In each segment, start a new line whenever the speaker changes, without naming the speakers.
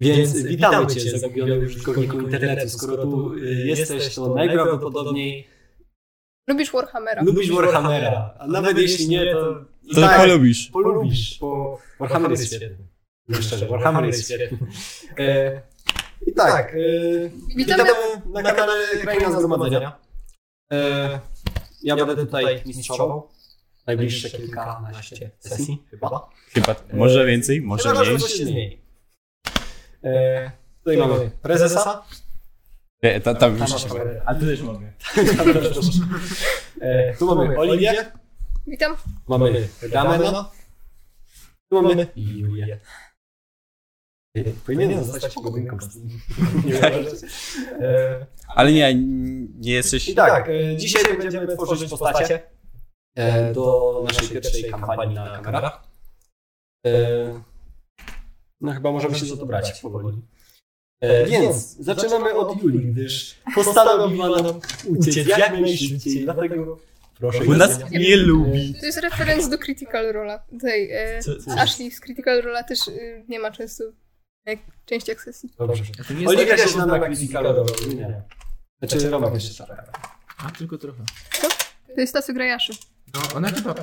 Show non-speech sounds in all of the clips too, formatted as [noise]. Więc witamy Cię, zagubiony użytkowniku internetu. Skoro tu y, jesteś, to najprawdopodobniej tak.
Lubisz Warhammera.
lubisz Warhammera. A nawet jeśli nie, to
To tak. polubisz.
polubisz, bo Warhammer jest świetny. Mówię szczerze, Warhammer jest świetny. [laughs] E, I tak, e,
Witamy.
witamy na kanale Kraina Zgromadzenia. E, ja będę tutaj mistrzował najbliższe kilkanaście sesji chyba.
Chyba,
Eee,
może więcej, może
Chyba, że
mniej.
coś się zmieni. E, tutaj mamy prezesa.
Nie, ta, tam
Tam
już
masz kamerę.
A ty też mogę.
E, tu mamy Oliwię.
Witam.
Mamy Gamena. Tu mamy Julię. E, Powinienem zostać pogubinką. Nie uważasz? E,
Ale nie, nie jesteś...
I tak, e, dzisiaj będziemy tworzyć postacie e, do naszej pierwszej kampanii na kamerach. E, No chyba możemy się za to brać powoli. E, Więc zaczynamy od Julii, gdyż postanowiła nam uciec jak najszybciej, dlatego proszę.
Bo nas
Julia.
nie lubi.
To jest referenc do Critical Rola. Tutaj e,
Co- co-
Ashley z Critical Rola też e, nie ma często jak, części akcesji.
Dobrze.
To nie
Oliwia się zna na Critical nie. Znaczy Romek jeszcze czarny.
A, tylko trochę.
To jest Tasu Grajaszy.
No, ona chyba.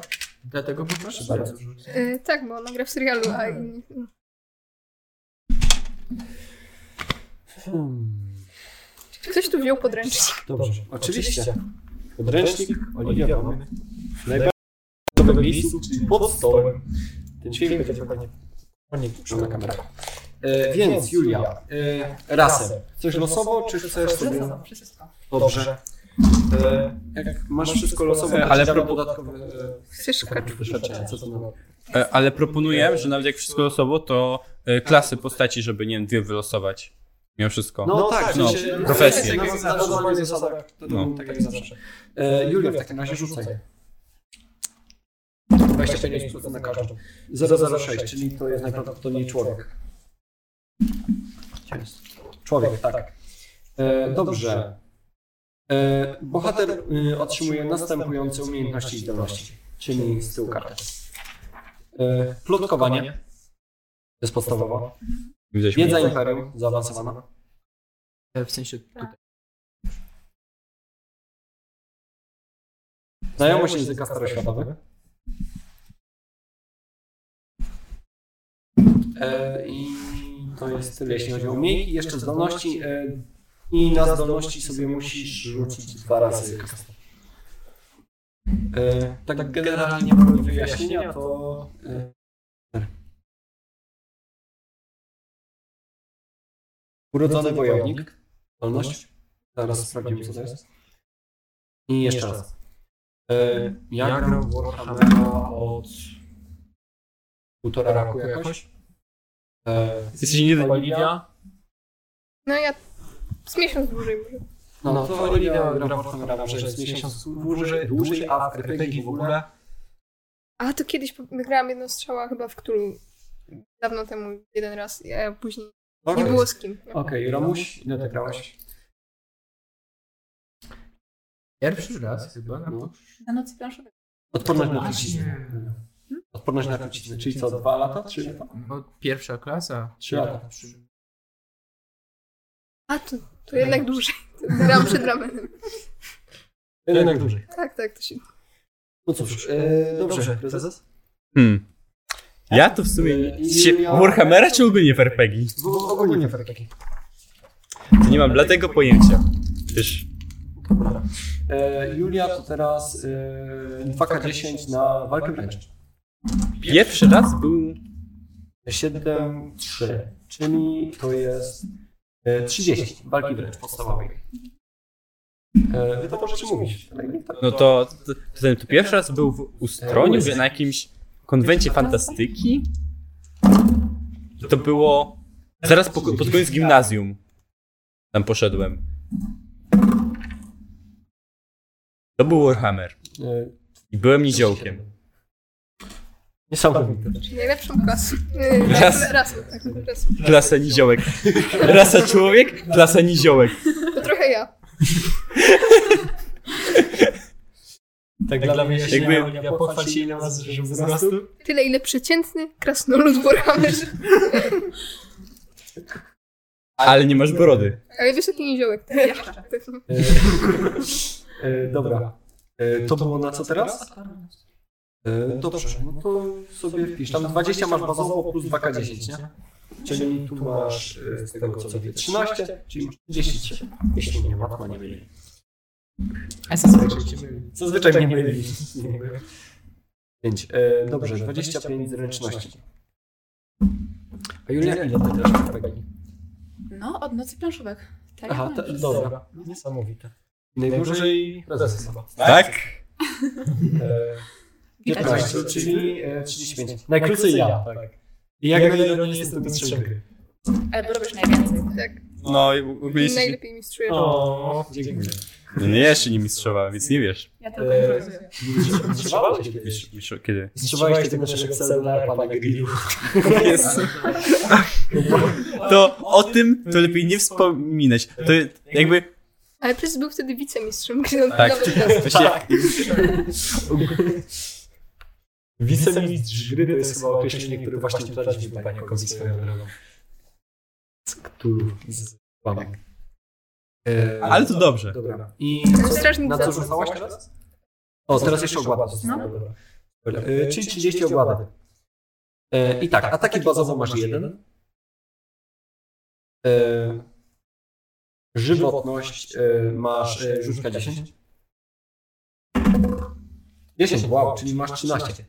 Dlatego poproszę
Bardzo.
bardzo.
E, tak, bo ona gra w serialu, a
Hmm.
inni... no.
Hmm.
Czy ktoś tu wziął podręcznik?
No Dobrze, oczywiście. Podręcznik Oliwia mamy. Najbardziej w miejscu, czyli pod stołem. Ten dźwięk będzie pewnie nie na kamerę. E, więc Julia, e, rasę. Chcesz losowo, czy chcesz sobie... Dobrze. E, jak masz wszystko losowo,
E,
to
ale
ci dam
pro-
dodatkowe
Chcesz
e,
kaczu?
doświadczenia. Co to na...
E, Ale proponuję, że nawet jak wszystko losowo, to e, klasy postaci, żeby, nie wiem, dwie wylosować. Mimo wszystko.
No, tak,
no,
że-
profesje.
Na, na, na normalnych zasadach, to
No.
no, tak jak zawsze. E, Julia, w takim razie rzucaj. 25% na każdą. 006, czyli to jest najprawdopodobniej człowiek. Człowiek, tak. E, dobrze. E, bohater e, otrzymuje następujące umiejętności i zdolności. Czyli z tyłu karty. E, plotkowanie. To jest podstawowa.
Widzieliśmy.
Wiedza imperium, zaawansowana.
E, W sensie tutaj.
Znajomość języka staroświatowy. E, I to jest tyle, jeśli chodzi o umiejętności. Jeszcze zdolności. E, I na zdolności sobie musisz rzucić dwa razy. E, tak generalnie mamy wyjaśnienia, to... E, urodzony wojownik. Zdolność. Zaraz sprawdzimy, co to jest. I jeszcze raz. E, Ja gram w Warhammera od półtora roku jakoś. E,
Jesteś nie...
Oliwia?
No ja z miesiąc dłużej może.
No, no to Oliwia gra w Warhammera może z miesiąc dłużej, dłużej, a w RPG w ogóle.
A to kiedyś po- grałam jedną strzała chyba w Cthulhu. Dawno temu, jeden raz, a później nie było z kim. No.
Okej, Romuś, ile ty grałaś?
Pierwszy raz chyba na
No.
Na nocy planszowej.
Odporność na truciznę. Odporność na truciznę, czyli co, dwa lata, trzy lata?
no, pierwsza klasa.
Trzy lata.
A to, to jednak dłużej. Grałam przed ramenem.
Jednak dłużej.
Tak, tak, to się...
No cóż, e, dobrze, prezes?
Hmm. Ja to w sumie...
E,
Się... Warhammera czy ogólnie w RPG?
W- Ogólnie w RPG.
To nie mam dlatego pojęcia. Wiesz,
Dobra. E, Julia to teraz e, 2K10 na walkę wręcz.
pierwszy raz był...
7, 3, czyli to jest e, 30 walki wręcz podstawowej. E, wy to możecie mówić. ale nie tak.
No to, to, to, ten- to pierwszy raz był w Ustroniu, że na jakimś konwencie fantastyki. To było zaraz po, pod koniec gimnazjum. Tam poszedłem. To był Warhammer.
E,
I byłem niziołkiem.
Niesamowite.
Czyli najlepszą klasą. Yy, raz.
Raz.
Raz, tak, raz.
Klasa niziołek. Rasa człowiek, klasa niziołek.
To trochę ja.
Tak dla mnie
wyjaśnienia,
jakby E, Oliwia pochwal się ile nas żył wzrostu.
Tyle ile przeciętny krasnolud w Warhammerze.
Ale nie masz brody.
Ale wiesz, jaki niziołek.
E, e, dobra. E, to było na co teraz? E, dobrze, no to sobie wpisz. Tam 20 masz bazowo plus 2K10, nie? Czyli tu masz e, z tego co wie 13, czyli masz 10. Jeśli nie, matma nie myli.
A co zrobicie?
Zazwyczaj mnie myli. 5. E, dobrze, 25 zręczności. A Julia, ile ty też masz PEGI?
No, od nocy planszówek. Tak,
Aha,
jak
ta,
mówisz.
dobra. Niesamowite. Najwyżej prezes chyba.
Tak?
E,
Widać.
15, czyli e, 35. Najkrócej ja, tak. I jak na nie jestem bez strzępy.
Ale bo robisz najwięcej.
Tak.
No, i w ogóle jeszcze...
Najlepiej mistrzuję.
O, dziękuję.
No nie, jeszcze nie mistrzowałem, więc nie wiesz.
Ja tylko
E,
improwizuję.
Strzywałeś kiedyś?
Mistrz- Kiedy?
Strzywałeś tego naszego celulara, pana Grillu.
Jest. To o tym to lepiej nie wspominać. To jakby
Ale prezes był wtedy wicemistrzem, gdy on
Tak.
nawet teraz.
Właśnie,
Wicemistrz gry to jest chyba określenie, które właśnie daliśmy panią Kowi swoją drogą. Który z panek. E,
ale to dobrze.
Dobra. I
Ten strażnik
na co
za-
rzucałaś teraz? O, teraz jeszcze ogłada.
No.
Dobra. E, Czyli 30 ogłada. E, I tak, ataki bazowo masz jeden. E, Żywotność e, masz e, rzutka 10. 10, wow, czyli masz 13.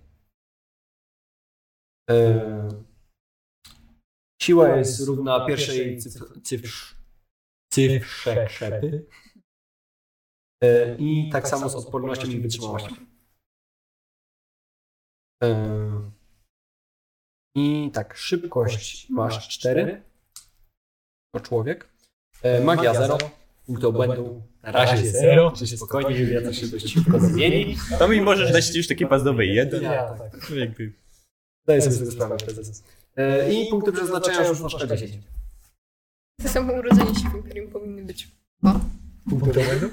E, Siła jest równa pierwszej cyf- cyfrz- cyfrze krzepy. E, I tak samo z odpornością i wytrzymałością. E, I tak, szybkość masz 4. To człowiek. E, Magia 0. Punkty obłędu na razie 0. Czy się spokojnie Julia to szybko szybko zmieni.
[laughs] To mi możesz dać już takie pazdowe jeden.
Ja, tak.
Jakby.
Zdaję sobie z tego sprawę, prezes. E, I punkty przeznaczenia już masz 40.
To samo urodzenie się, którym powinny być.
Punkty [laughs] obłędu?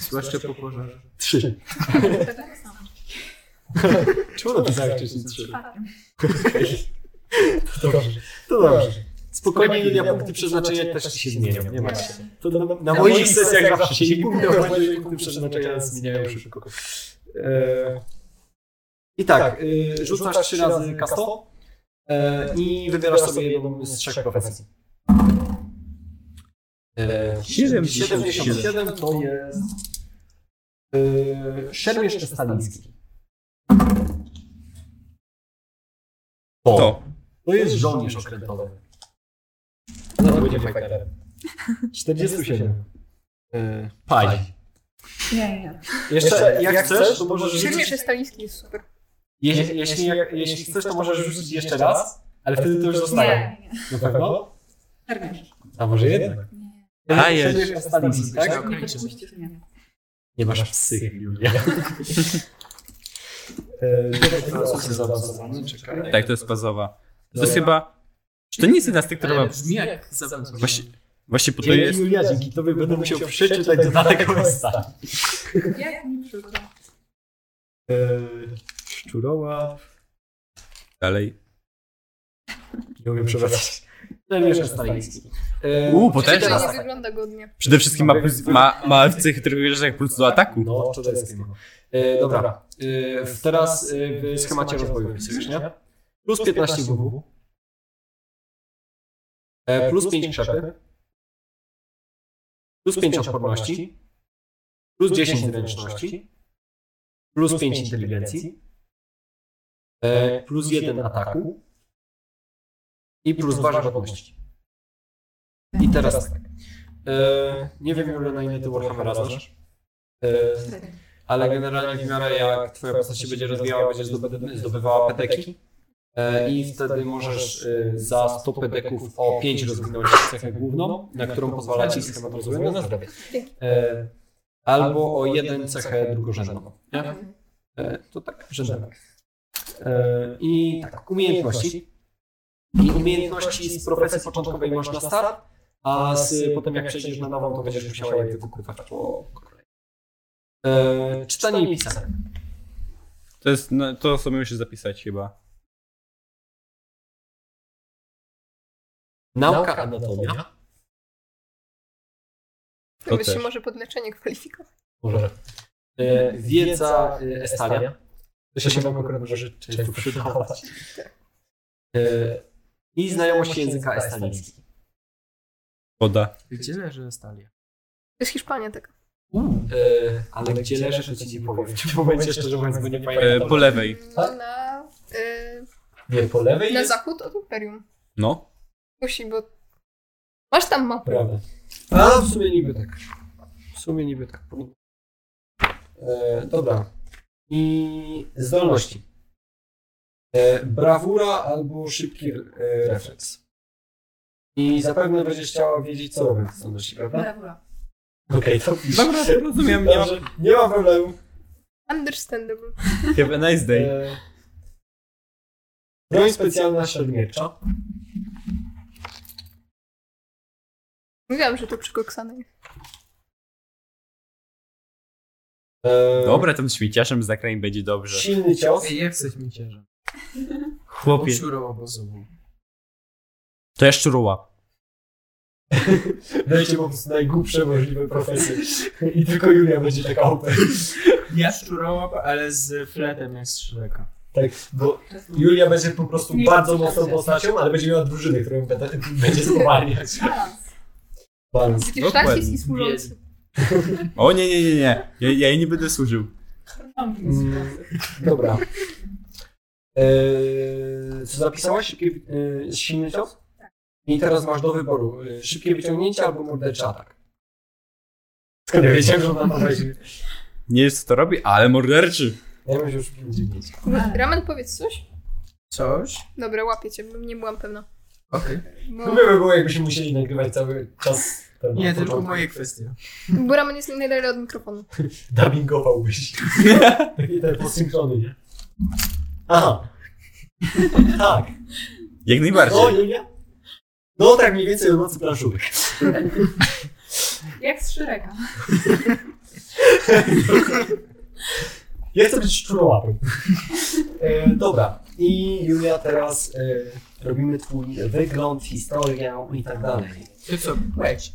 Zwłaszcza po pożarze.
3.
Tak samo.
[laughs] Czemu tak napisałeś wcześniej 3?
Czwartym.
To dobrze. To dobrze. Spokojnie, Julia, punkty przeznaczenia też ci się zmienią. Tak. Nie ma się. To na, na moich sesjach zawsze się punkty obłędu i punkty przeznaczenia zmieniają szybko. E, I tak, e, rzucasz trzy razy kasto e, i wybierasz sobie jedną z trzech profesji. E,
77.
77 to jest e, szermierz czy staliński.
To.
To jest żołnierz okrętowy. Zaraz będzie fajterem. 47. E, Paj.
Nie, nie, nie.
Jeszcze, jak chcesz, to możesz
Szermierz
rzucić...
staliński jest super.
Jeśli, jeśli, jak, jeśli chcesz, to możesz rzucić jeszcze raz, ale wtedy to już zostaje.
Nie, nie, nie.
Na pewno?
Czerwiesz.
A może jednak.
Nie.
A,
Szermierz
jest.
Kastaliński, tak?
Nie przepuścisz mnie.
Nie masz psy, [laughs] Julia. E, Dobra, to jest zaawansowane, czekaj.
Tak, to jest bazowa. To jest chyba. Czy to nie jest jedna z tych, która
Ale
ma.
brzmi jak zawęzłość.
Właśnie, właśnie po to
Dzięki
jest.
Julia, dzięki tobie będę musiał przeczytać dodatek OSA.
Jak mi przykro.
e, Szczuroła.
Dalej.
Nie umiem przeprowadzać. Szermierz Staliński. E,
Uuu,
Też
potężna.
to nie wygląda godnie.
Przede wszystkim ma, plus, ma, ma w cechy trochę jak plus do ataku.
No, czeczeńskie. E, dobra. E, w- teraz e, w schemacie rozwoju pisujesz, nie? Plus 15 WW. E, plus 5 krzepy. Plus 5 odporności. Plus 10 zręczności. Plus 5 inteligencji. E, plus 1 ataku. I plus 2 żywotności. I teraz tak. E, nie wiem, Julia, na ile ty Warhammera znasz. E,
Cztery.
ale generalnie w miarę jak twoja postać się będzie rozwijała, będziesz zdoby- zdobywała pedeki e, i wtedy możesz e, za 100 pedeków o 5 rozwinąć cechę główną, na którą pozwala ci schemat rozwoju na zdrowie. E, Albo o jeden cechę drugorzędną. nie? E, To tak, rzędem. E, I tak, umiejętności. I umiejętności z profesji początkowej masz na start, a z, potem jak przejdziesz na nową, to będziesz musiała je wykupywać po kolei. E, czytanie i pisanie.
To jest. No, to sobie musisz zapisać chyba.
Nauka anatomia.
To
To byś się
też.
może pod leczenie kwalifikował.
Może. E, Wiedza e, Estalia. To się wam akurat może często przydawać. E, I znajomość języka estalińskiego.
Woda.
Gdzie leży Stalia?
To jest Hiszpania tak. taka.
E, ale gdzie leży, to ci nie powiem. W tym momencie szczerze mówiąc, bo nie
E,
pamiętam.
po lewej.
No, na, y,
E, Nie, po lewej
na
jest?
zachód od Imperium.
No.
Musi, bo... Masz tam mapę.
Prawda. A w sumie niby tak. W sumie niby tak. E, dobra. I zdolności. E, brawura albo szybki e, refleks. I zapewne będziesz chciała wiedzieć, co robię w zdolności, prawda?
Brawura.
Okej, to pisz.
Dobra, rozumiem, nie ma.
Dobrze, nie ma problemu.
Understandable.
Have a nice day.
E, broń specjalna średmiecza.
Mówiłam, że to przykoksane jest.
E,
Dobra, tam śmieciarzem z zakrań będzie dobrze.
Silny cios.
Ej, jak chcesz mi ciężar?
Chłopie,
Usiurą obozowu.
to ja szczuruła.
Dajcie po prostu najgłupsze możliwe profesje. I tylko Julia będzie taka OP.
Ja szczurołap, ale z fletem jak z Szreka.
Tak, bo Julia będzie po prostu
Nie,
bardzo
nie,
mocną
nie.
postacią, ale będzie miała drużynę, którą będę- będzie spowalniać.
Balans.
Balans.
Widzisz, rasizm i
Dokładnie.
służący.
O nie, nie, nie, nie. Ja, ja jej nie będę służył.
Mm, dobra. Eee, co zapisałaś? Szybkie, eee, silny cios? I teraz masz do wyboru eee, szybkie wyciągnięcie albo morderczy atak. Skąd ja wiedziałem, że ona to weźmie?
Nie wiem co to robi, ale morderczy.
Ja bym się szybkie wyciągnięcie.
Ramen, powiedz coś?
Coś?
Dobra, łapię cię, bo nie byłam pewna.
Okej.
No
Bo,
by było, jakbyśmy musieli nagrywać cały czas. ten
Nie, tylko
początek.
moje kwestie.
bo ramen jest najdalej od mikrofonu.
[laughs] dubbingowałbyś. Takie te posynchrony, nie? Aha. tak.
Jak
No,
najbardziej.
Julia? No, tak mniej więcej o nocy planszówek.
Jak z Szyreka.
Ja chcę być szczurołapem. E, dobra. I Julia, teraz e, robimy twój wygląd, historię i tak dalej.
Ty co, płeć?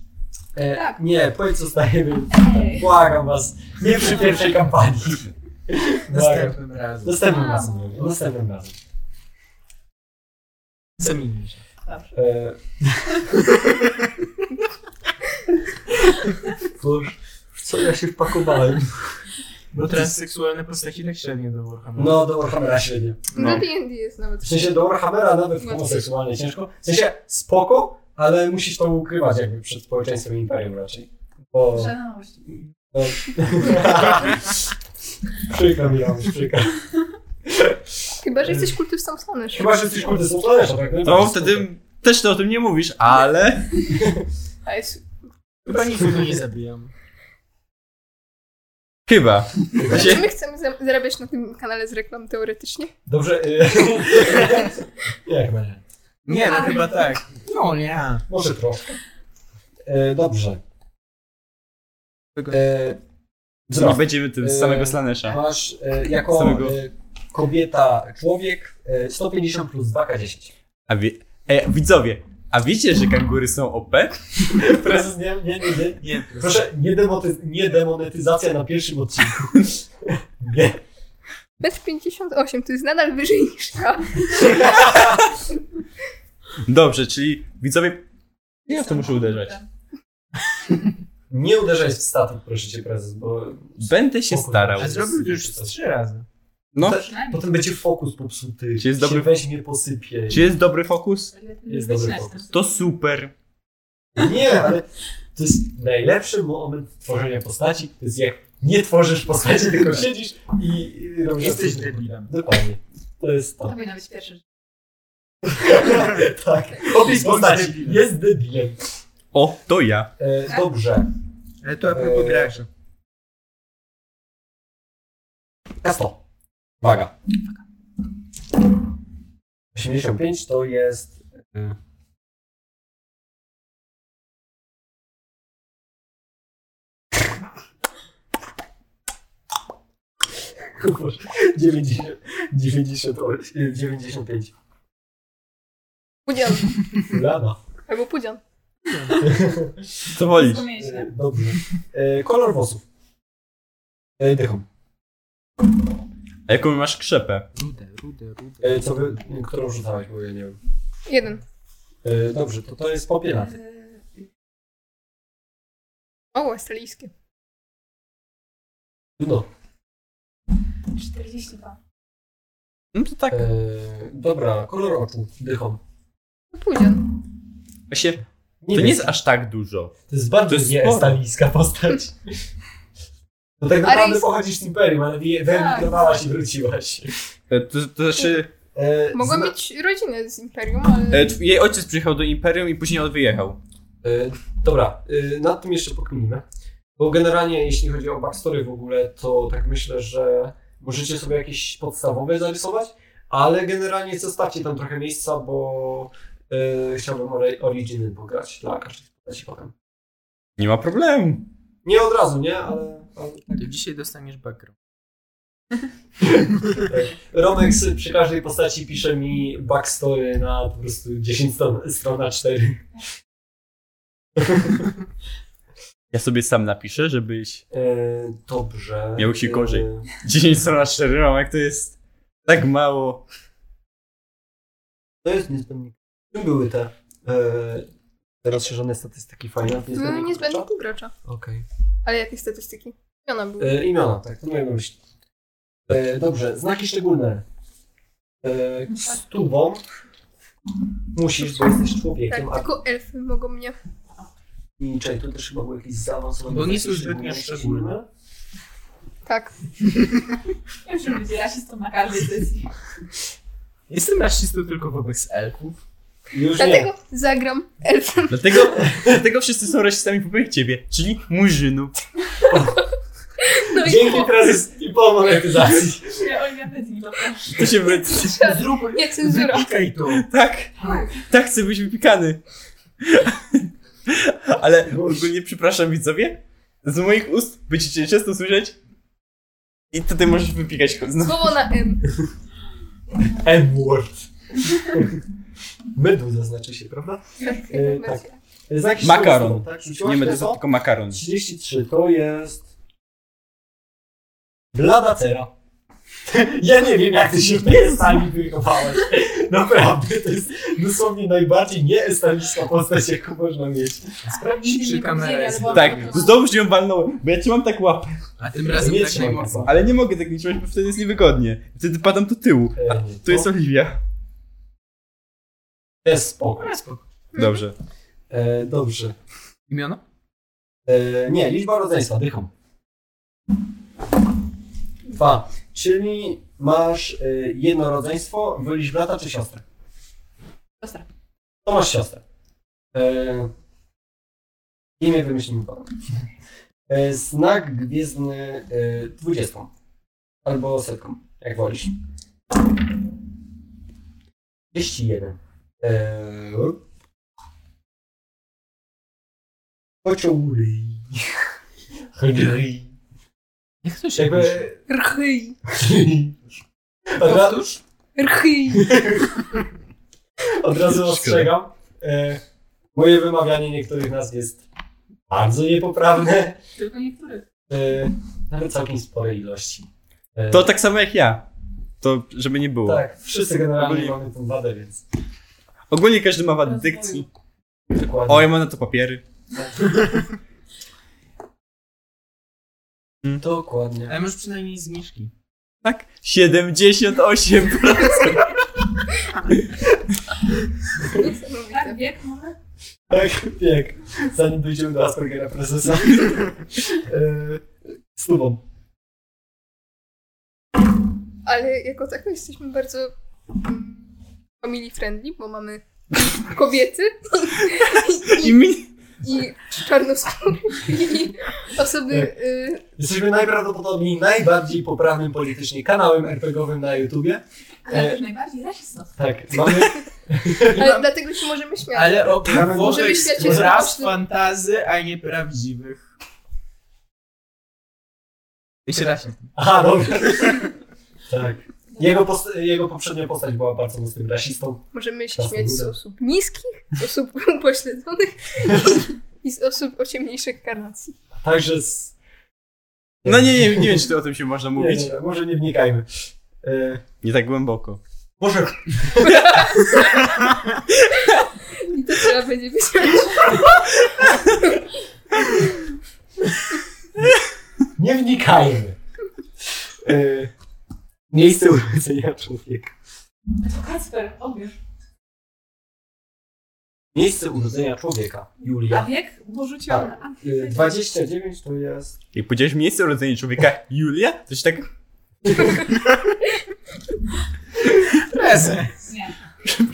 E,
Tak.
Nie, powiedz zostajemy.
Ej.
Błagam was. Nie przy pierwszej kampanii. Błagam.
Następnym razem.
Następnym razem. mówię, Następnym razem.
Zamienimy się.
E... Boże, w co ja się wpakowałem?
Bo transseksualne postaci tak średnio do Warhammera.
No, do Warhammera średnio.
No.
No.
D&D jest nawet.
W sensie do Warhammera nawet
Łatwo.
homoseksualnie ciężko. W sensie spoko, ale musisz to ukrywać jakby przed społeczeństwem imperium raczej. Bo...
Żalność.
No. przykro mi, Janusz, przykro.
Chyba, że jesteś kultystą Sonysz.
Chyba, że jesteś kurde są talerza, tak?
To No, wtedy też ty o tym nie mówisz, ale...
A jest...
Chyba nikogo nie zabijam.
Chyba.
Czy my chcemy za- zarabiać na tym kanale z reklam teoretycznie?
Dobrze, [laughs] y... Nie, chyba nie.
Nie, no chyba tak. No nie.
Może troszkę. E, dobrze. E,
Co nie
wzrost.
będziemy tym z samego Slanesha.
Masz e, jako
Samego.
e, kobieta, człowiek e, 150 plus 2K10.
A wie... e, widzowie, a wiecie, że kangury są OP?
Prezes, nie, nie, nie, nie.
Nie,
Proszę, nie, demoty, nie demonetyzacja na pierwszym odcinku. [laughs] Nie.
Metr 58 to jest nadal wyżej niż ja.
Dobrze, czyli widzowie... Ja w to muszę uderzać.
Nie uderzaj w statyk, proszę cię, prezes, bo
Będę się starał.
A zrobił to już z trzy razy.
No.
Przynajmniej.
potem będzie fokus popsuty.
Czy jest
się
dobry-
weźmie, posypie.
Czy jest dobry fokus?
Jest dobry pomysł.
To super.
Nie, ale to jest najlepszy moment tworzenia postaci. To jest jak nie tworzysz postaci,
[laughs]
tylko siedzisz i i robisz.
Jesteś debilem.
Dokładnie. To jest
To
to.
powinno być pierwszy rzecz.
tak. Opis
Jest
postaci.
debilem.
Jest debilem.
O, to ja.
E, dobrze.
Ale to a propos
Eee.
graczy.
Kasto. Uwaga. 85 to jest. y, Boże, 90, 90, 95.
Udział.
Lana.
Albo pudzian.
Co wolisz?
Rozumiecie?
E, Dobrze. E, kolor włosów. E, dychą.
A jaką masz krzepę?
Rude, rude, rude. E, co wy, którą rzucałeś, bo ja nie wiem.
Jeden.
E, dobrze, to to jest popielaty.
Eee,
O, australijskie.
No.
42.
No to tak.
E, dobra, kolor oczu. Dychą.
To pudzian.
Właśnie,
Nie
to
wiem,
nie jest aż tak dużo.
to jest bardzo
to jest sporo.
nieestalijska postać. No tak naprawdę
Aryjs-
pochodzisz z Imperium, ale wy- wyemigrowałaś i wróciłaś.
E, To, to znaczy,
E,
Mogła
zna-
mieć rodzinę z Imperium, ale...
e, tw- jej ojciec przyjechał do Imperium i później on wyjechał.
E, Dobra, e, nad tym jeszcze pokminimy. Bo generalnie, jeśli chodzi o backstory w ogóle, to tak myślę, że możecie sobie jakieś podstawowe zarysować, ale generalnie zostawcie tam trochę miejsca, bo e, chciałbym ori- originy pograć dla każdej postaci potem.
Nie ma problemu.
Nie od razu, nie? Ale, ale tak.
To dzisiaj dostaniesz background.
Romek s- przy każdej postaci pisze mi backstory na po prostu 10 stron, strona 4.
Ja sobie sam napiszę, żebyś [laughs]
E, dobrze.
Miał się gorzej.
E,
10 stron na 4 mam, jak to jest tak mało.
To jest niezbędnik. Czym były te e, rozszerzone statystyki fajne?
Były niezbędne
klucza?
pół gracza.
Okej.
Ale jakie statystyki? Ona była.
E, imiona, tak, to miałem na myśli. E, dobrze, znaki szczególne. E, z tubą musisz, bo jesteś człowiekiem,
Tak,
a
tylko elfy mogą mnie.
i czekaj, tu też chyba były jakieś zaawansowane.
Bo nie są
znaki
zbytnio szczególne.
Tak.
Ja muszę być rasistą na każdej sesji.
Jestem rasistą tylko wobec elfów.
Już nie.
Dlatego zagram elfem.
Dlatego, [laughs] dlatego wszyscy są rasistami wobec ciebie, czyli murzynów.
No i
Dzięki teraz i po monetyzacji.
Ja oświatę z nim zapraszam.
To się wy...
Zrób
nie cenzura.
[laughs]
Klikaj to.
[laughs] Tak, tak chcę być wypikany. [laughs] Ale ogólnie przepraszam widzowie, z moich ust będziecie często słyszeć i tutaj możesz wypikać
No.
znowu.
Słowo na M.
[laughs] M-word. Mydło zaznaczy się, prawda? E, tak. E, Znaki
Makaron.
szczególne, tak? Rzuciłaś
Nie będę
lewo?
za tylko makaron.
33 to jest. Blada cera. [laughs] Ja nie wiem, jak ty się w tej stali wychowałeś. Naprawdę, to jest dosłownie najbardziej nieestaliczna postać, jaką można mieć.
Sprawdź, czy kamera jest.
Tak, znowu się ją walnąłem, bo ja cię mam tak łapę.
A tym razem
Nie
tak
trzymaj
najmocniej.
bardzo.
Ale nie mogę tak nie trzymać, bo wtedy jest niewygodnie. Wtedy padam do tyłu.
E,
Tu jest Oliwia.
Mhm. to jest spoko.
Dobra, spoko.
Dobrze.
E, dobrze.
Imiona?
E, nie, liczba rodzeństwa, dycham. Dwa. Czyli masz e, jedno rodzeństwo, wolisz brata czy siostrę?
Siostra.
To masz siostrę. E, imię wymyślimy panu. E, znak gwiezdny e, dwudziestką. Albo setką, jak wolisz. 31. E, Pociągli. Chli.
Jak to się pisze?
Jakby...
Rchyj.
Od, ra-
Powtórz?
Rchyj.
od razu ostrzegam. E, moje wymawianie niektórych nazw jest bardzo niepoprawne.
Tylko niektórych.
E, nawet całkiem sporej ilości. E,
To tak samo jak ja. To żeby nie było.
tak, wszyscy generalnie
Ogólnie-
mamy tą wadę, więc
Ogólnie każdy ma wadę dykcji.
dokładnie.
O, ja mam na to papiery.
Dokładnie.
Ale może przynajmniej zniżki.
Tak? 78%.
Tak, wiek może?
Tak, pięk. Zanim dojdziemy do Aspergera
[laughs]
prezesa. E, Z tobą.
[laughs] Ale jako tako jesteśmy bardzo mm, family friendly, bo mamy kobiety i,
I
i,
mi...
i czarnoskórych i osoby... Y,
Jesteśmy najprawdopodobniej najbardziej poprawnym politycznie kanałem RPGowym na YouTubie.
Ale
E,
też najbardziej rasistowska.
tak, [laughs] mamy Tak.
y, ale dlatego się możemy śmiać.
Ale o
Możemy
włożek
świecie
z praw
zobaczyć-
fantazy, a nie prawdziwych. Jeszcze raz.
Aha, dobra. no. Tak. Jego, post- jego poprzednia postać była bardzo mocnym rasistą.
Możemy się
Czasem
śmiać z
uda.
osób niskich, osób [laughs] upośledzonych i z osób o ciemniejszych karnacji.
Także z...
No nie, nie, nie wiem, czy to o tym się można mówić.
Nie, nie, może nie wnikajmy. E,
Nie tak głęboko.
może
I to trzeba będzie wiedzieć.
nie wnikajmy. E, miejsce urodzenia człowieka.
To Kacper, obierz.
Miejsce urodzenia człowieka.
A
Julia.
wiek? Bo rzuciłam na A.
E, 29 to jest...
Jak powiedziałeś miejsce urodzenia człowieka Julia, to się tak
Prezes.
Nie.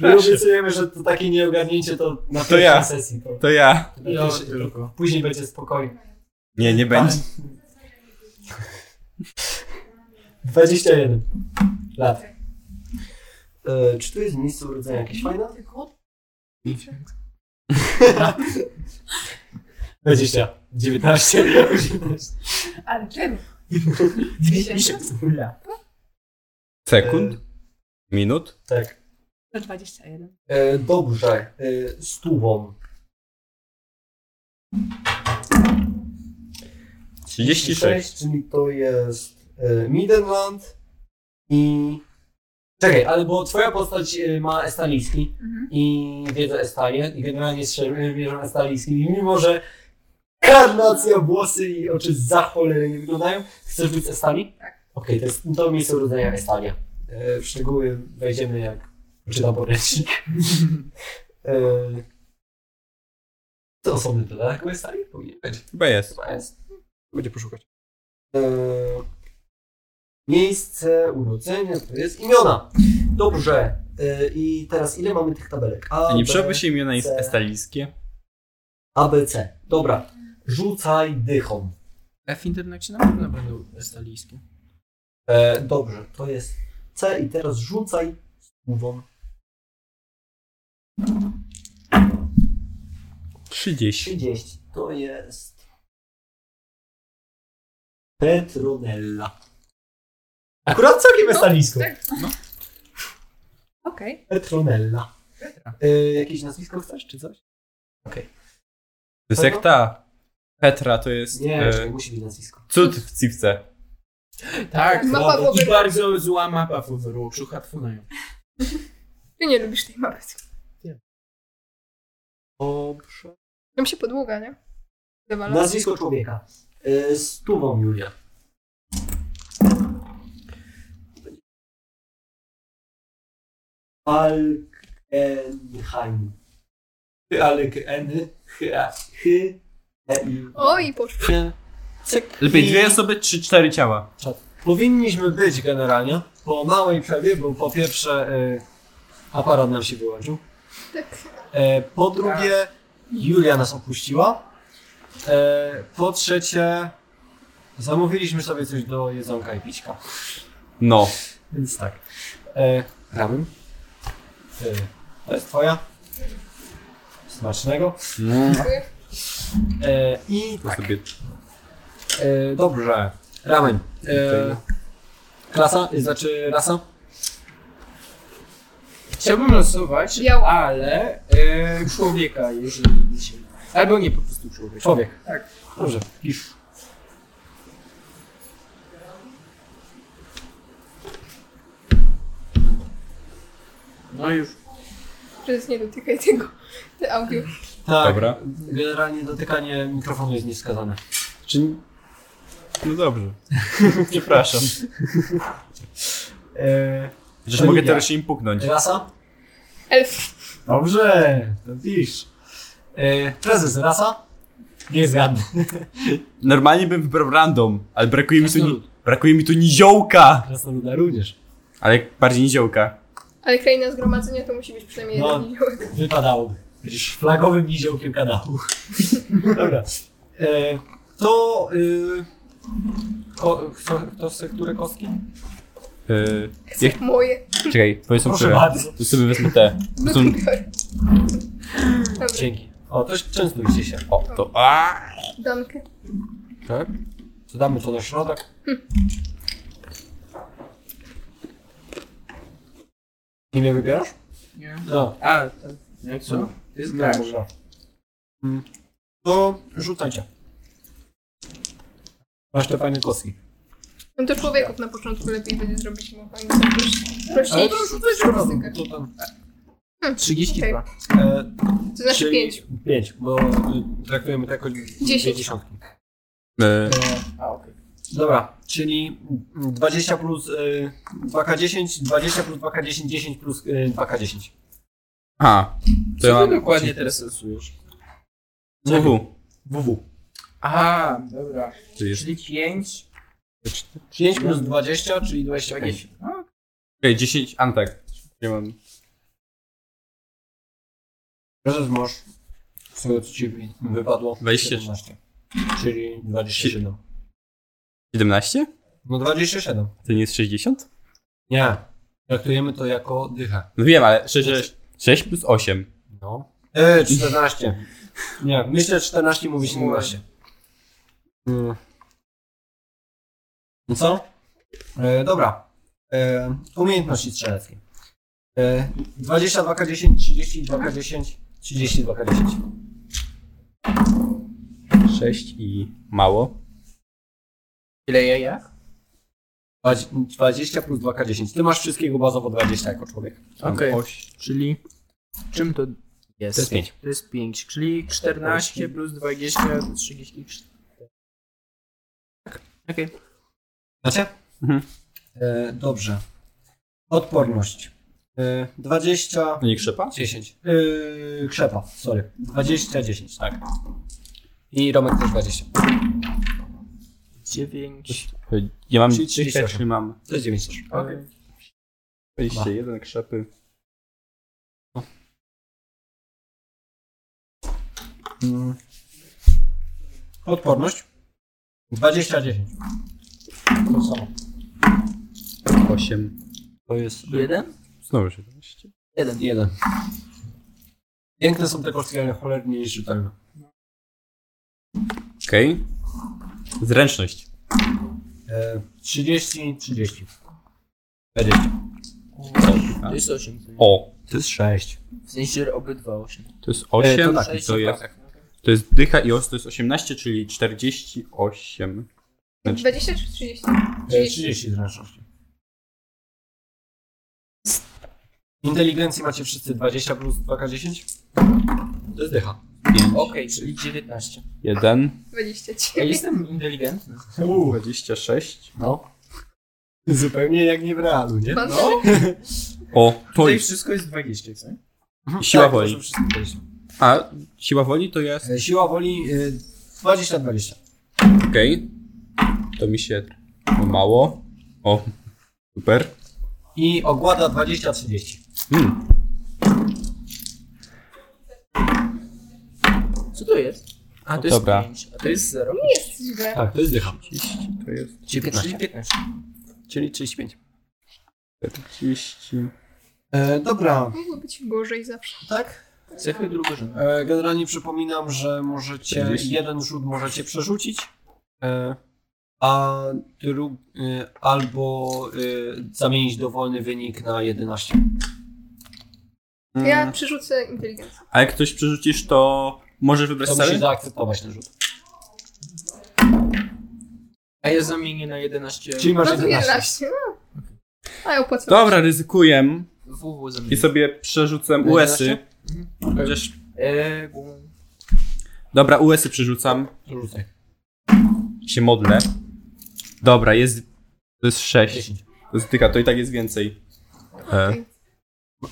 My obiecujemy, że to takie nieogarnięcie to na
To ja.
pierwszej sesji. To,
to ja.
to się- Później będzie spokojnie.
Nie,
Tak.
nie będzie.
21 lat. E, czy tu jest miejsce urodzenia jakieś fajne?
Ty kot?
20. 19. 18.
Ale czemu? Miesiąc?
Julia.
Sekund? Minut?
Tak.
To 21.
E, dobrze. E, z tuwą.
36.
czyli to jest e, Midenland i... Czekaj, ale bo twoja postać e, ma estaliski
Mhm.
i wiedzę Estalię i generalnie jest szermierzem estaliskim i mimo, że karnacja, włosy i oczy za cholerę nie wyglądają, chcesz być z Estali?
Tak.
Okej, to jest to miejsce urodzenia Estalia. E, w szczegóły wejdziemy jak czytam [laughs] poręcznik. e, to osobny dodatek o Estalii? Powinien być.
Chyba jest.
Chyba jest. Będzie poszukać. E, miejsce urodzenia to jest imiona. Dobrze. E, I teraz ile mamy tych tabelek? A,
A nie
B,
przydałyby się imiona jest
C.
estaliskie?
A, B, C. Dobra. Rzucaj dychą.
F Internet na pewno będą estalijskie.
E, dobrze, to jest C i teraz rzucaj słową.
30.
30 to jest Petronella. Akurat całkiem estalisko.
tak. Okej.
Petronella. E, jakieś nazwisko chcesz, czy coś?
To jest jak ta Petra, to jest
Nie, czekaj,
e,
musi być nazwisko.
cud w cipce.
Tak,
Mapa
bardzo-
Wawelu.
i bardzo zła mapa Woweru, brzucha twonają.
Ty nie lubisz tej mapy.
Dobrze.
Tam się podługa, nie? Zawala.
Nazwisko człowieka. E, Stówą Julia. Falkenheim. Falkenheim. E,
O, i poszło.
Lepiej dwie osoby, trzy, cztery ciała.
Powinniśmy być generalnie po małej przerwie, bo po pierwsze e, aparat nam się wyłączył.
Tak.
E, po drugie, Julia nas opuściła. E, po trzecie, zamówiliśmy sobie coś do jedzonka i pićka.
No.
Więc tak. E, Ramen. E, to jest twoja. Smacznego. E, I
To sobie
e, dobrze. Ramen. E, klasa, e, znaczy rasa.
Chciałbym losować,
Biała.
ale
y,
e, człowieka, jeżeli się... Albo nie, po prostu człowieka.
Człowiek.
Tak.
Dobrze, pisz.
No już.
Przez nie dotykaj tego. Te audio.
Tak,
Dobra.
generalnie dotykanie mikrofonu jest nieskazane.
Czy... No
[laughs]
dobrze. Przepraszam.
E,
Chociaż
To
mogę
Julia.
teraz im puknąć.
rasa?
Elf.
Dobrze, to pisz. E, prezes, rasa? Nie zgadnę.
Normalnie bym wybrał random, ale brakuje mi tu, ni-
Krasnolud.
brakuje mi tu niziołka!
Krasnoluda również.
Ale bardziej niziołka.
Ale kraina zgromadzenia to musi być przynajmniej
No.
jeden milionek.
Wypadałoby. Będziesz flagowym niziołkiem kanału. Dobra. E, to... Y, ko, kto, kto chce które kostki?
Yy,
[laughs]
jak...
Moje.
Czekaj, powiedz
Proszę
sobie.
bardzo.
Tu sobie wezmę te.
No to
Są-
biorę. Dobra,
Dzięki. O, to częstujcie się.
O, to. A!
Dankę.
Tak? To damy to na środek. Imię wybierasz?
Nie.
No. tak,
A, tak. Jak co? To jest gracz.
Mm. To rzucajcie. Masz te fajne kostki.
No to człowieków na początku lepiej będzie zrobić, bo oni są proś-
Ale
prościejsi.
to
statystyka.
To tam.
Hmm,
32.
okej.
E,
To znaczy
czyli-
5.
Pięć, bo y, traktujemy to jako dwie
Dziesięć.
dziesiątki.
E,
A, okej.
Dobra, czyli 20 plus y, 2K10, 20 plus 2K10, 10 plus y, 2K10.
A, to
Co
ja
ty
mam...
dokładnie teraz rysujesz?
WW.
WW.
Aha, dobra.
Czyli jeszcze-
Czyli 5.
5 plus 20, czyli 25.
Okej, 10, a no tak. Ja mam...
Teraz masz z tego co ci wy- wypadło
20.
17, czyli 27.
17?
No 27.
To nie jest 60?
Nie, traktujemy to jako dycha.
No wiem, ale 6, 6, 6 plus 8.
No. E, 14. Nie, myślę 14 mówi 17. Mm. No Co? E, dobra. E, umiejętności strzeleckie. E, 22k10, 32k10, 32k10.
6 i mało.
Ile ja jak?
20 plus 2k10. Ty masz wszystkiego bazowo 20 jako człowiek.
Tam
Okej.
oś-
Czyli czym to jest?
To jest 5.
To jest 5, czyli 14 plus 20 to 34. Okej.
Znacie?
Mhm.
E, dobrze. Odporność. E, 20,
To nie krzepa?
10. Yy, krzepa, sorry. 20, 10, tak. I Romek też 20.
9.
Ja mam
Czyli
3,
38.
czyli mam
To jest 9 też.
Okej.
21 krzepy.
Mm. Odporność. 20, 10. To samo.
8.
To jest
Jeden?
Znowu 17.
Jeden.
1. Piękne są te koszty, ale cholernie nieczytelne.
Okej. Zręczność.
E, 30, 30. 20.
To
No
jest 8.
O.
To jest 6.
W sensie obydwa 8.
To jest 8,
E, to
to,
tak,
tak,
sześć
to,
i
jest,
tak.
to jest dycha i os to jest 18, czyli 48.
20 czy 30?
E,
30.
30 zręczności. Inteligencji macie wszyscy 20 plus 2K10? To jest dycha.
5,
Okej, czyli 19.
1,
20.
Ja jestem inteligentny.
26.
No. Zupełnie jak nie w realu, nie?
Pan
O, to
Tutaj
jest
wszystko jest 20, co?
siła
Tak,
woli.
proszę wszystkim powiedzieć.
A siła woli to jest.
E, Siła woli e, 20-20.
Okej. To mi się mało. O, super.
I ogłada 20-30.
Hmm.
Co to jest? A
O,
to jest
dobra.
5, a to jest 0.
jest źle.
Tak, to jest dycha.
To jest
Czyli 15. 15.
Czyli 35.
40.
E, dobra,
Mogło być gorzej zawsze.
tak?
Cechy drugorzędne.
E, generalnie przypominam, że możecie
40.
jeden rzut możecie przerzucić, e, a dru- e, albo e, zamienić dowolny wynik na 11. Mm.
Ja przerzucę inteligencję.
A jak ktoś przerzucisz, to możesz wybrać
To musisz
cały?
zaakceptować ten rzut.
A ja zamienię na 11.
Czyli
No
masz
to
11.
11. no. A ja opłacę.
Dobra, ryzykuję
WW
i
zamienię.
sobie przerzucę US-y. Chociaż...
E, gum.
Dobra, US-y przerzucam.
Rzucaj.
Się modlę. Dobra, jest... To jest 6.
10.
To jest tyka, to i tak jest więcej. E,
Okej.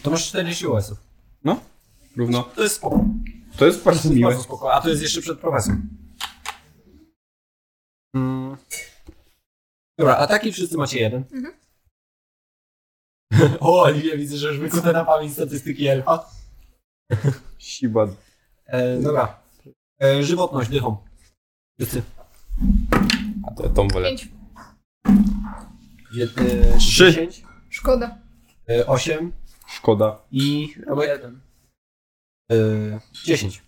To masz 40 US.
równo.
To jest spoko.
To jest bardzo miłe.
Bardzo spoko. A to jest jeszcze przed profesem. Mm. Dobra, ataki wszyscy macie jeden.
Mhm.
[laughs] o, ja widzę, że już wykute na pamięć statystyki elfa.
Siła.
E, dobra. E, żywotność dychą. Wszyscy.
A to tą wolę.
5.
Jed, e,
Trzy.
10,
Szkoda.
e, 8
Szkoda.
i
Albo 1.
e, 10.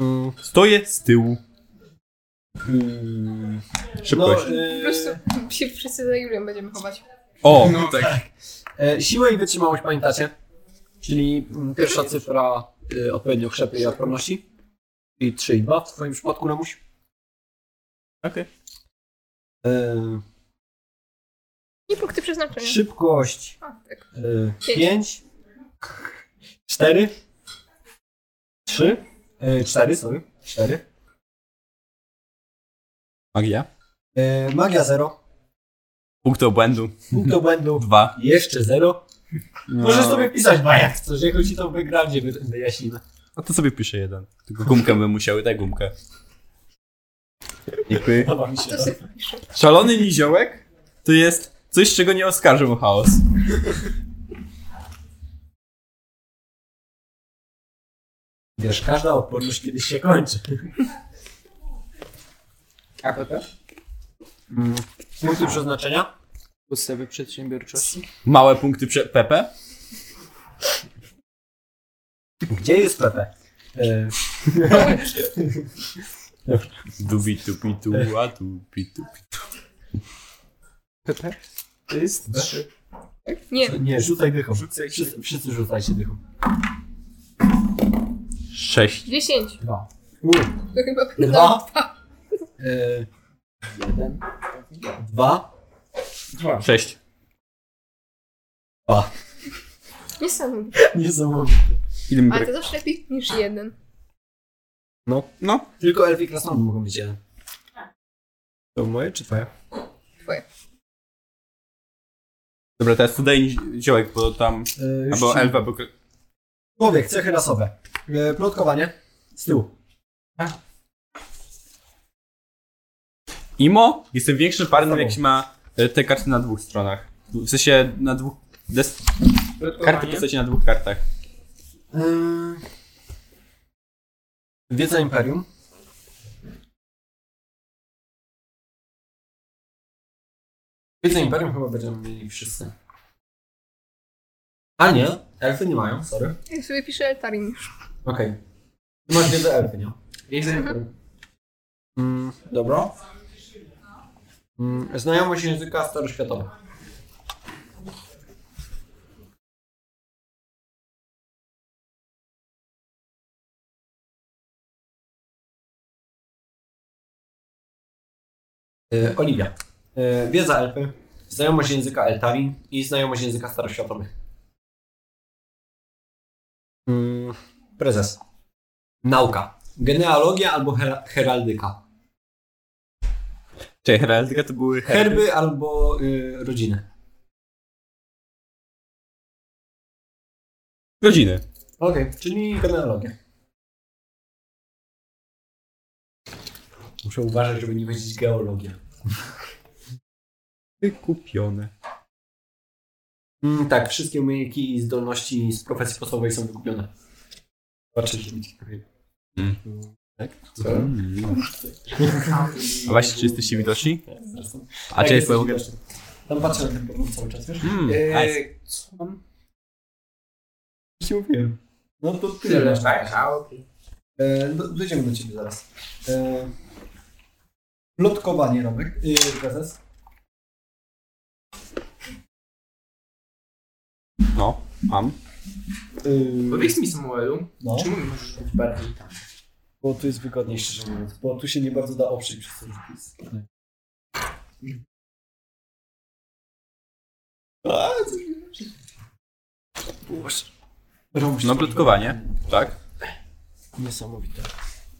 Mm,
Stoję z tyłu.
mm,
Szybkość.
No,
Po
e,
Hmm.
Eee.
prostu się wszyscy za Julią będziemy chować.
O!
No tak.
E, siłę i wytrzymałość pamiętacie? Czyli mm, pierwsza cyfra y, odpowiednio chrzepy i odporności. Czyli 3 i 2 w twoim przypadku, Ramuś.
Okej.
E,
I punkty przeznaczenia.
szybkość
A, tak.
e,
Pięć.
5, 4, 3, 4, e, sorry, 4.
Magia.
E, magia 0,
Punkt obłędu.
punkt obłędu
Dwa.
jeszcze 0. Możesz sobie wpisać dwa jak chcesz, jak ci to w backgroundzie wy- wyjaśnimy.
No to sobie piszę jeden. Tylko gumkę bym musiał, daj gumkę. Dziękuję.
Podoba mi się
To
to.
sobie piszę.
Szalony niziołek to jest coś, czego nie oskarżą o chaos.
Wiesz, każda odporność kiedyś się kończy.
APP?
Punkty przeznaczenia?
Podstawy przedsiębiorczości.
Małe punkty prze... Pepe?
Gdzie jest Pepe? E,
Dubi tu pitu, a tu pitu.
PP?
to jest trzy.
Nie,
Nie, rzucaj dychą. Wszyscy, wszyscy rzucajcie dychą.
Sześć.
10.
Dwa.
To chyba No.
Dwa. E,
Jeden.
dwa.
Dwa.
Sześć.
Nie sam.
Niesamowite.
Ile mi
Ale
brak...
to zawsze lepiej niż jeden.
No.
No.
Tylko elfy i krasnoludy mogą być e, jeden. To moje czy twoje?
Dobra, teraz tu daj niziołek, bo tam...
E, już
Albo
ci-
elfa, bo...
Człowiek, cechy rasowe. E, plotkowanie. Z tyłu.
Imo? Jestem większym parnym, jak się ma e, te karty na dwóch stronach. W sensie na dwóch... Des... Karty w postaci na dwóch kartach.
Yy... Wiedza Imperium. Wiedza Imperium chyba będziemy mieli wszyscy. A nie, elfy nie mają, sorry.
Ja sobie piszę Eltarim już.
Okej. Ty masz wiedzę elfy, nie?
Jeden.
Mm, dobra. Mm, znajomość języka staroświatowego. E, Oliwia. E, wiedza elfy, znajomość języka eltari i znajomość języka staroświatowych. Mm, prezes. Nauka. Genealogia albo hera- heraldyka.
Czyli heraldyka to były herby.
Herby albo y, rodziny.
Godziny.
Okej, czyli genealogia. Muszę uważać, żeby nie powiedzieć geologia.
Wykupione.
Mm, tak, wszystkie umiejętności i zdolności z profesji podstawowej są wykupione. Patrzcie, żeby ci powiedzieć.
Mm.
Tak?
Mm. A właśnie, czy jesteście widoczni?
Nie, zresztą.
A czy
jesteś
jest w ogóle...
widoczny. Tam patrzę na ten portal cały czas, wiesz?
Mm, nice.
Eee, co mam?
Ci mówiłem. No to
Tyle.
tyle.
Tak, a okej.
E, do- dojdziemy do ciebie zaraz. E, lotkowanie, Romek. Y, prezes.
No, mam.
Y,
Powiedz mi Samuelu,
no.
czemu nie możesz być bardziej tam?
Bo tu jest wygodniej, szczerze mówiąc. Bo tu się nie bardzo da oprzeć przez ten wpis. A, co się dzieje? Boże. Robisz
No,
to.
plotkowanie. Tak.
Niesamowite.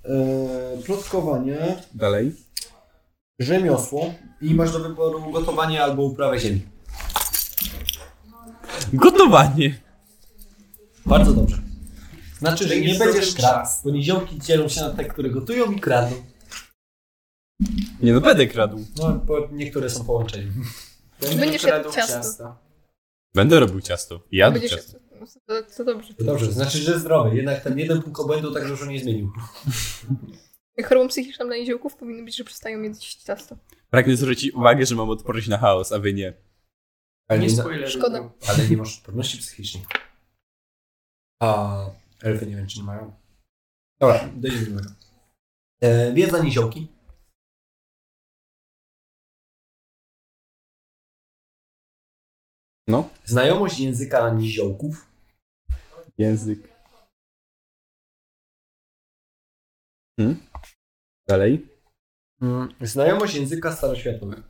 Eee, plotkowanie,
Dalej.
rzemiosło i masz do wyboru gotowanie albo uprawę ziemi.
Gotowanie.
Bardzo dobrze. Znaczy, że nie
Będziesz
będziesz
zrobił
kradł,
czas.
bo niziołki dzielą się na te, które gotują i kradną.
Nie no, będę kradł.
No, bo niektóre są połączeni.
Będziesz jadł ciasto.
Będę robił ciasto. Jadł
Będziesz...
ciasto.
To, to dobrze.
To dobrze, znaczy, że zdrowy. Jednak ten jeden punkt obłędu tak dużo nie zmienił.
Jak chorobą psychiczną dla niziołków powinno być, że przestają jeść ciasto.
Pragnę zwrócić uwagę, że mam odporność na chaos, a wy nie.
Ale
Nie
nie-
spoileruj.
Szkoda.
no.
Ale nie masz odporności psychicznej. A elfy nie wiem, czy nie mają. Dobra, dojdziemy do tego. E, wiedza niziołki.
No.
Znajomość języka niziołków.
Język. Hmm? Dalej.
Mm, Znajomość języka staroświatowego.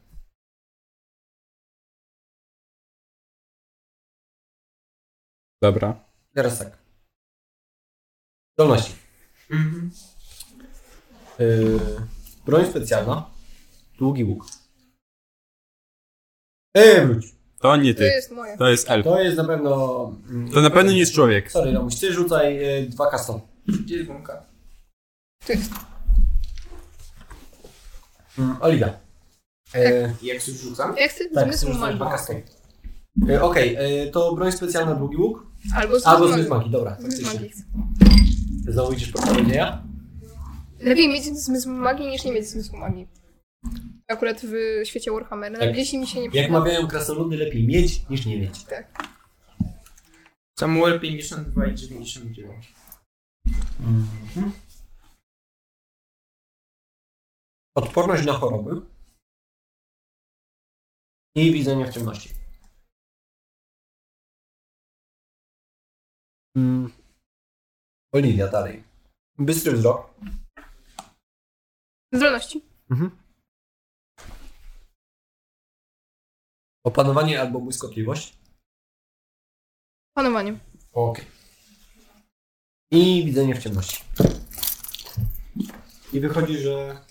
Dobra.
Teraz tak. Zdolności.
Mhm.
Yy, broń specjalna. Długi łuk. Ej, wróć.
To nie
To
ty.
jest moje.
To jest elf.
To jest na pewno... mm,
To na pewno nie jest człowiek.
Sorry, Romuś, ty rzucaj yy, dwa kaston.
Gdzie jest bąka?
To jest.
Mm, Oliwia. Yy,
Jak coś rzucam?
Ja chcę
tak,
zmysł
chcę rzucać
magii.
dwa kaston. Yy, Okej, yy, to broń specjalna, długi łuk.
Albo
Albo
zmysł
zmysł
magii.
magii, dobra.
Zmysł
faktycznie.
magii.
Znowu idziesz po czarodzieja?
Lepiej mieć zmysł magii niż nie mieć zmysłu magii. Akurat w świecie Warhammera.
Tak.
Tak. Jeśli mi się nie
Jak
przyda.
mawiają krasnoludy, lepiej mieć niż nie mieć.
Samuel 52 i 99.
Odporność na choroby i widzenie w ciemności. Mm. Oliwia dalej. Bystry wzrok.
Zdolności.
Opanowanie albo błyskotliwość.
Panowanie.
Okej. I widzenie w ciemności. I wychodzi, że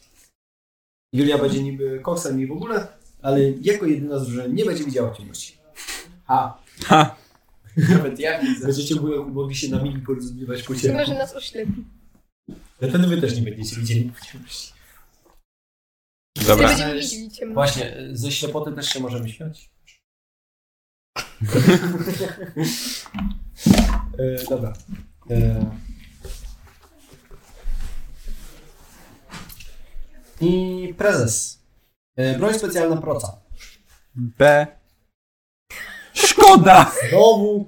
Julia będzie niby koksem i w ogóle, ale jako jedyna z że nie będzie widziała w ciemności. A,
Ha!
Nawet ja widzę.
będziecie mogli- mogli się na mili porozumiewać po ciemku.
Chyba, że nas oślepi.
Ale Wtedy wy też nie będziecie widzieli po ciemności.
Nie
Dobra.
będziemy widzieli ciemno.
Właśnie, ze ślepoty też się możemy [laughs] śmiać. e, dobra. E... I prezes. E, broń specjalna proca.
B. Szkoda!
Znowu.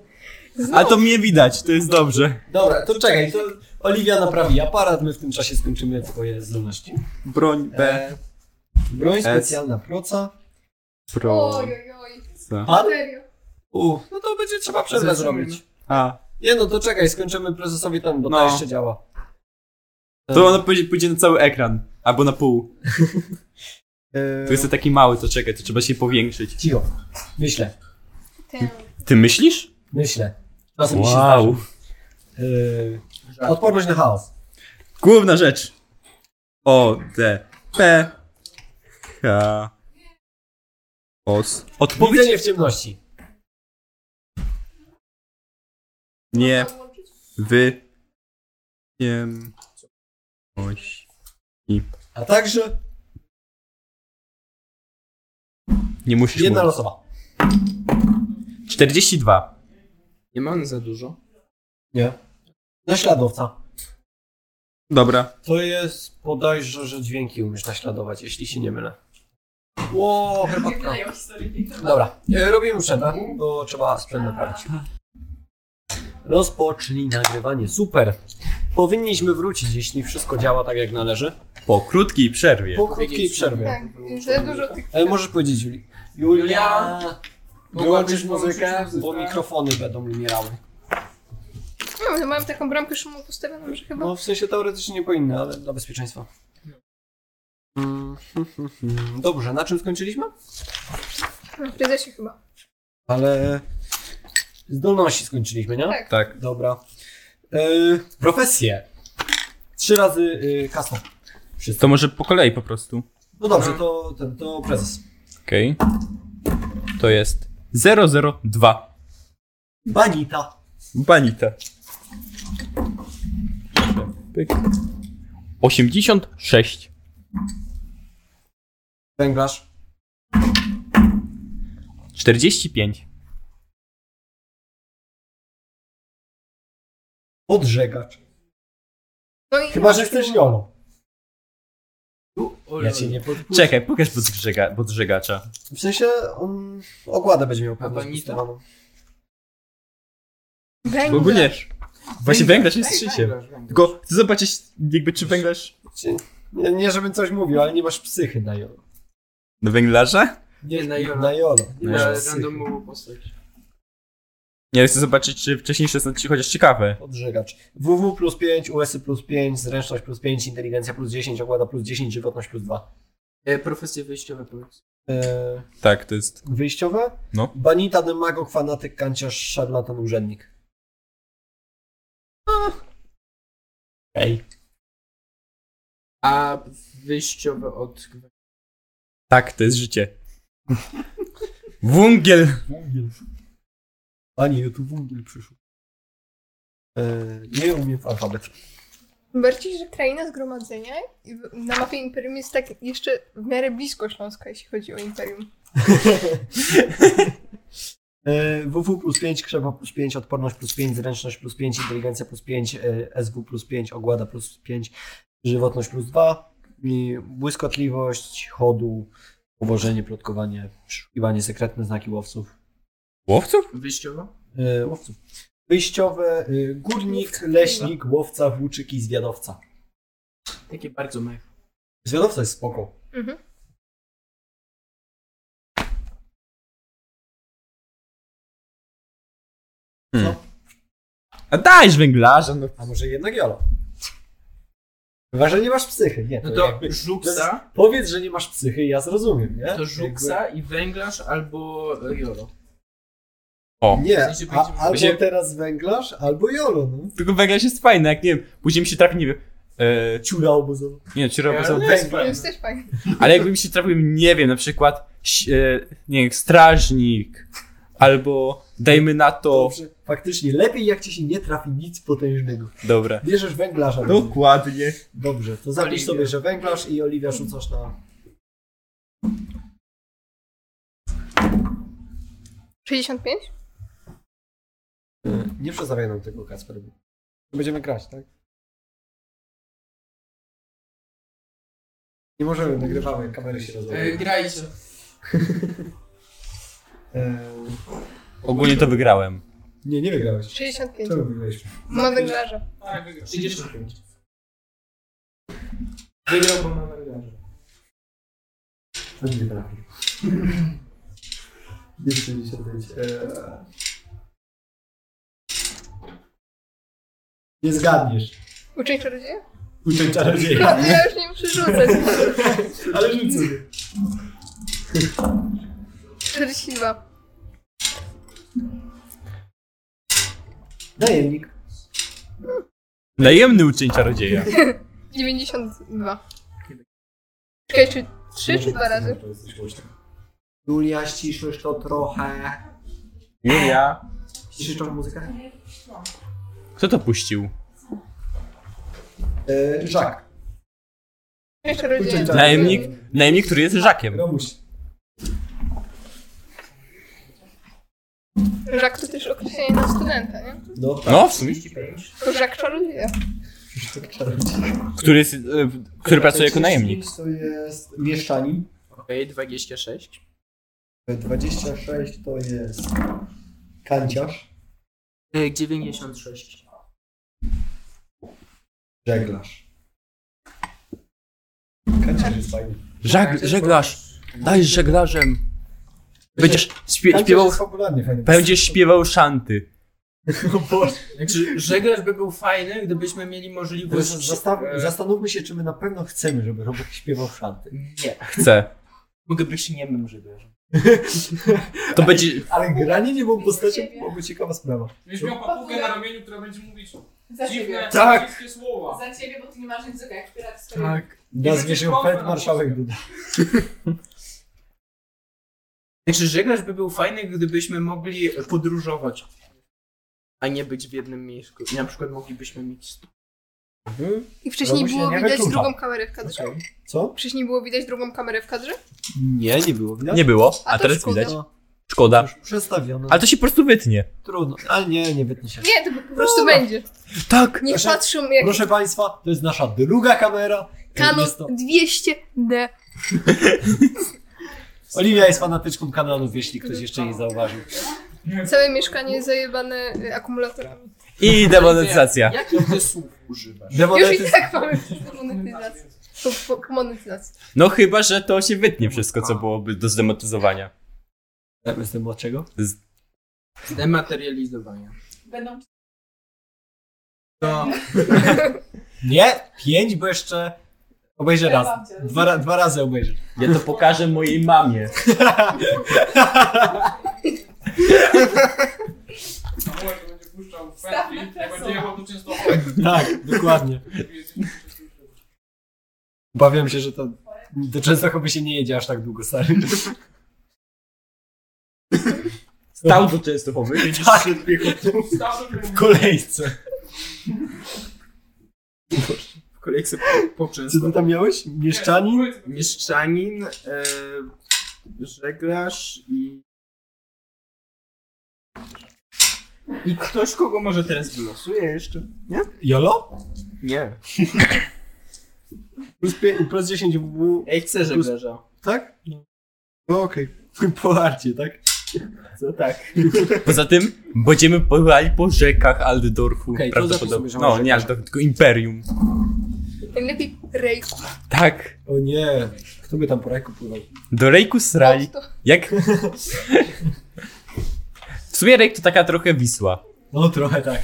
A to mnie widać, to jest dobrze.
Dobra, to czekaj, to Oliwia naprawi aparat, my w tym czasie skończymy twoje zdolności.
Broń B.
E, broń
S.
specjalna proca.
Pro.
Oj, oj, oj.
Pan?
Serio.
U, no to będzie trzeba przerwę
Zrobimy.
zrobić.
A.
Nie no, to czekaj, skończymy prezesowi ten, bo
No.
to jeszcze działa.
To ono pójdzie, pójdzie na cały ekran. Albo na pół.
Eee,
To jest taki mały, to czekaj, to trzeba się powiększyć.
Cicho. Myślę,
Ten.
Ty myślisz?
myślę. Czasem mi się
Wow.
zdarza. Eee, odporność na chaos.
Główna rzecz. O, D, P, H, Os. Odpowiedź?
Widzenie w ciemności.
Nie, wy, nie, oś.
A także
Nie musisz
jedna
mówić.
losowa.
42.
Nie mamy za dużo.
Nie. Naśladowca.
Dobra.
To jest bodajże, że dźwięki umiesz naśladować, jeśli się nie mylę. Ło,
Nie
herbatka.
wydają historii tej tematy.
Dobra, e, robimy przerwę, bo trzeba sprzęt naprawić. Rozpocznij nagrywanie. Super. Powinniśmy wrócić, jeśli wszystko działa tak jak należy.
Po krótkiej przerwie.
Po krótkiej przerwie.
Tak, za dużo tych.
Ale możesz powiedzieć, Juli. Julia, wyłączysz muzykę,
muzykę?
bo mikrofony będą umierały.
No, mam taką bramkę szumu postawioną, że chyba.
No w sensie teoretycznie nie powinny, ale dla bezpieczeństwa. Mm, Dobrze, na czym skończyliśmy?
No, w prezesie chyba.
Ale zdolności skończyliśmy, nie?
Tak.
Tak.
Dobra. Yy, profesje. Trzy razy yy, kasą.
To może po kolei po prostu.
No dobrze, to, to, to prezes.
Okej. To jest 002.
Banita.
Banita. Pyk. 86.
Węglarz.
45.
Odżegacz.
No i
Chyba, że chcesz jolo.
O,
Ja cię nie podpuszczę.
Czekaj, pokaż podżega, podżegacza.
W sensie on ogładę będzie miał pewnie
Albo nita.
spustowaną.
węgiel.
Ogólnie. Właśnie węglarz jest
Cię.
szyciem. Tylko chcę zobaczyć, jakby czy węglarz.
Czy- Nie, nie żebym coś mówił, ale nie masz psychy na jolo.
Do węglarza?
Nie,
na jolo.
Na jolo. Nie
Na
masz psychy.
randomową postać.
Ja chcę zobaczyć, czy wcześniejsze są ci chociaż ciekawe.
Odżegacz. WW plus 5, USy plus 5, zręczność plus 5, inteligencja plus 10, ogłada plus 10, żywotność plus 2.
E, profesje wyjściowe powiedz.
E,
Tak, to jest.
wyjściowe?
No.
Banita, demagog, fanatyk, kanciarz, szarlatan, urzędnik. Ej.
A wyjściowe od...
Tak, to jest [laughs] życie. Wungiel!
tak.
Wungiel. A nie, tu wungiel przyszło. E, nie umiem w alfabet.
Tym Bardziej, że kraina zgromadzenia i w- na mapie Imperium jest tak jeszcze w miarę blisko Śląska, jeśli chodzi o Imperium.
E, WW plus 5, krzewa plus 5, odporność plus 5, zręczność plus 5, inteligencja plus 5, e, SW plus 5, ogłada plus 5, żywotność plus 2, i błyskotliwość, chodu, powożenie, plotkowanie, przeszukiwanie, sekretne znaki łowców.
Łowców?
Wyjściowe?
E, łowców. Wyjściowe, e, górnik, leśnik, łowca, włóczyk i zwiadowca.
Takie bardzo mech.
Zwiadowca jest spoko.
Mhm.
Hmm. A dajesz węglarza, no.
A może jednak jolo? Chyba, że nie masz psychy. Nie,
No
to
to
jakby-
żuksa,
Powiedz, że nie masz psychy i ja zrozumiem, nie?
to żuksa i węglarz albo e, jolo.
O.
Nie,
W sensie
a,
będziemy-
albo
Będziemy-
teraz węglarz, albo jolo, no.
Tylko węglarz jest fajny, jak nie wiem. Później mi się trafi, nie wiem. E,
Ciura obozowa.
nie, czy robię
Ale
za-
jest
To
fajne.
jest też fajne.
Ale jakby mi się trafił, nie wiem, na przykład, ś- e, nie wiem, strażnik, albo dajmy na to.
Dobrze, faktycznie, lepiej jak ci się nie trafi nic potężnego.
Dobra.
Bierzesz węglarza.
No.
Dobrze.
Dokładnie.
Dobrze, to zapisz
Oliwia.
sobie, że węglarz i Oliwia rzucasz na...
65?
Nie przedstawiaj nam tego, Kasper. Będziemy grać, tak? Nie możemy, nagrywamy, kamery się
E,
rozwalają.
grajcie.
Eee,
Ogólnie to wygrałem.
Nie, nie wygrałeś.
65.
Czemu wygrałeś?
Ma węglarza.
35. Wygrał, bo ma węglarza.
To nie trafi. [laughs] Nie 75. Eee... Nie zgadniesz.
Uczeń czarodzieja?
Uczeń czarodzieja.
No, Ja już nie muszę rzucać.
Ale rzucę.
42.
Najemnik.
Najemny uczeń czarodzieja.
92. Czekaj, czy 3 czy 2 razy?
Julia, ściszysz to trochę.
Nie ja.
Ściszysz tą muzykę?
Kto to puścił?
Eee, Żak.
Uczeń czarodzieja.
czarodzieja.
Najemnik, najemnik, który jest żakiem.
Romuś.
Żak to też określenie na studenta, nie?
No tak.
No, w sumie.
To żak czarodzieja.
Żak czarodziej.
Który, jest, e, który pracuje jako najemnik.
To jest mieszanin.
Okej, 26.
26 to jest kanciarz.
E, 96.
Żeglarz. Kanciarz jest fajny.
Żag, żeglarz. Dajesz żeglarzem. Będziesz śpie,
Kanciarz
śpiewał.
jest fabularnie fajny. [laughs]
Będziesz śpiewał szanty.
Znaczy, żeglarz by był fajny, gdybyśmy mieli możliwość...
Zresztą zastaw,
e,
zastanówmy się, czy my na pewno chcemy, żeby robot śpiewał szanty.
Nie.
Chcę.
Mogę być niemym żeglarzem.
To będzie.
Ale granie nie było postacią byłoby ciekawa sprawa.
Będziesz miał papugę na ramieniu, która będzie mówić dziwne,
Za ciebie.
Tak.
wszystkie słowa.
Za ciebie, bo ty nie masz języka jak pirat z
Nazwie się Fed Marszałek Duda.
Znaczy, żeglarz by był fajny, gdybyśmy mogli podróżować. A nie być w jednym miejscu. Na przykład moglibyśmy mieć...
I wcześniej
Romuś się No
było
nie
widać
wyklucza.
drugą kamerę w kadrze?
Co?
Wcześniej było widać drugą kamerę w kadrze?
Nie, nie było widać.
Nie było, No, a
A to
teraz
szkoda.
widać. Szkoda.
Już przestawiono.
Ale to się po prostu wytnie.
Trudno. Ale nie, nie wytnie się.
Nie, to po prostu będzie.
Tak.
Nie
Proszę-
patrzą jak
Proszę Państwa, to jest nasza druga kamera.
Canon
Jest to...
200D.
Oliwia jest fanatyczką kanonów, jeśli ktoś jeszcze nie zauważył.
Całe mieszkanie jest zajebane y, akumulatorami.
[laughs] I demonetyzacja.
Jakich ty słów używasz?
Już
Demonetyz...
i tak mamy [laughs] monetyzację. Po, po, po monetyzacji.
No chyba, że to się wytnie wszystko, co byłoby do zdemotyzowania.
Jestem od czego?
Dematerializowania.
Będą
To... Nie, pięć, bo jeszcze obejrzę raz. Dwa, ra- dwa razy obejrzę.
Ja to pokażę mojej mamie.
Samuel to będzie puszczał w
Staw
pętli,
na
będzie
kresło.
jechał do Częstochowy.
Tak, dokładnie. Obawiam się, że to do Częstochowy się nie jedzie aż tak długo, stary.
Stał do Częstochowy. [laughs]
Tak,
Stał do
w kolejce.
W kolejce po, po
Co ty tam miałeś? Mieszczanin?
Mieszczanin, e, żeglarz i... I ktoś, kogo może teraz wylosuję jeszcze?
Jolo?
Nie.
Plus, pie- plus 10 w...
Ej, chcę żeglarza.
Tak? No okej. [laughs] Po arcie, tak?
Co tak?
Poza tym będziemy pływali po rzekach Aldorfu.
Okej, to
prawdopodobnie.
zapisujmy, że
No,
może
nie Aldorf, tylko Imperium.
Najlepiej rejku.
Tak.
O nie, kto by tam po rajku pływał?
Do Rejku srali.
To-
Jak... [laughs] W sumie Rejk to taka trochę Wisła.
No trochę tak.